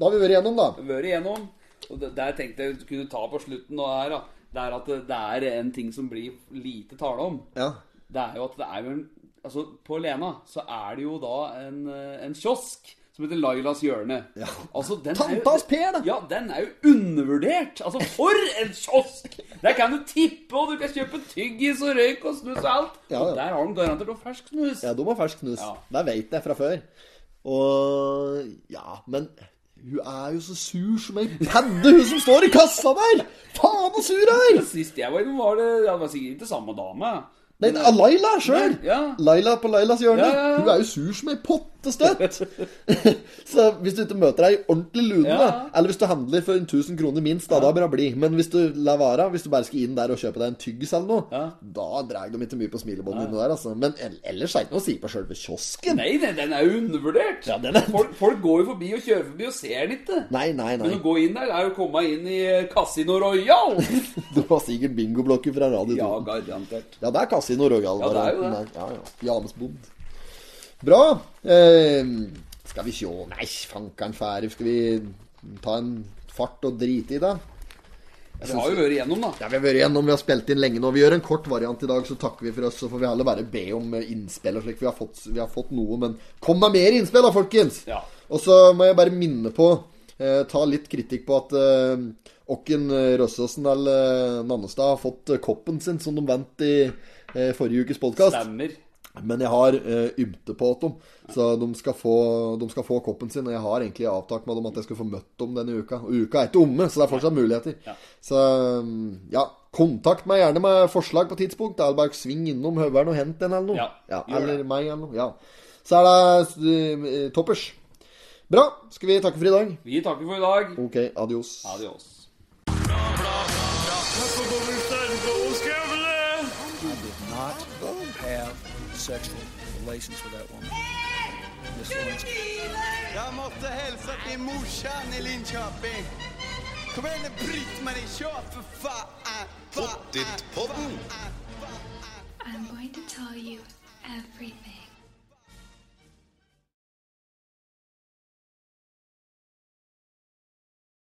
Da har vi vært igjennom, da.
vært igjennom. Og det- der tenkte jeg du kunne ta på slutten nå her, da. Det er at det- det er en ting som blir lite tale om.
Ja.
Det er jo at det er jo en Altså, på Lena så er det jo da en, eh, en kiosk som heter Lailas hjørne.
Ja.
Altså, den er jo-
Tantas Per, da.
Ja, den er jo undervurdert. Altså, for en kiosk! Der kan du tippe, og du kan kjøpe tyggis og røyk og snus og alt.
Ja, ja.
Og der har de garantert noe fersk snus.
Ja, de har fersk snus.
Ja.
Det veit jeg fra før. Og ja, men hun er jo så sur som ei padde, hun som står i kassa der! Faen så sur hun er!
Sist jeg var innom, var det ja, det var sikkert ikke samme dame. eh,
Nei, det er Laila sjøl!
Ja.
Laila på Lailas hjørne.
Ja, ja, ja.
Hun er jo sur som ei pottestøtt! så hvis du ikke møter ei ordentlig lune,
Ja.
da, eller hvis du handler for 1000 kroner minst, da, da bør hun bli. Men hvis du lar være, hvis du bare skal inn der og kjøpe deg en tyggis eller noe,
Ja.
da drar de ikke mye på smilebåndet inne der, altså. Men el- ellers er det ikke noe å si på sjølve kiosken.
Nei, den, den er jo undervurdert.
Ja, den er-
folk, folk går jo forbi og kjører forbi og ser den ikke.
Nei, nei, nei.
Men å gå inn der er jo å komme inn i Casino Royal.
Det var sikkert bingoblokker fra Radio 2.
ja,
Ja,
garantert.
det er Casino Royal.
Ja, det er jo det.
varianten der. Ja, ja. James Bond. Bra. Eh, skal vi sjå Nei, fankan fære. Skal vi ta en fart og drite i det?
Vi har jo vært igjennom, da.
Ja, Vi har vært igjennom, vi har spilt inn lenge nå. Vi gjør en kort variant i dag, så takker vi for oss. Så får vi heller bare be om eh, innspill og slik. Vi har fått, vi har fått noe, men kom med mer innspill da, folkens!
Ja.
Og så må jeg bare minne på eh, Ta litt kritikk på at eh, Åkken Røsåsen eller eh, Nannestad har fått eh, koppen sin, som de vant i eh, forrige ukes podkast.
Stemmer.
Men jeg har eh, ymte på at dem, så de skal, få, de skal få koppen sin. Og jeg har egentlig avtalt med dem at jeg skal få møtt dem denne uka. Og uka er ikke omme, så det er fortsatt muligheter. Så mm, ja, kontakt meg gjerne med forslag på tidspunkt. Eller bare sving innom Høveren og hent en eller noe.
Ja, gjør
eller
det.
meg eller noe. Ja. Så er det eh, toppers. Bra. Skal vi takke for i dag?
Vi takker for i dag.
Ok, adios.
Adios.
Not have sexual relations with that woman. Miss Lewinsky.
Jag måste hälsa till morsan i Linköping. Kom igen nu Britt-Marie, kör för fan! Fa-
I'm going to tell you everything.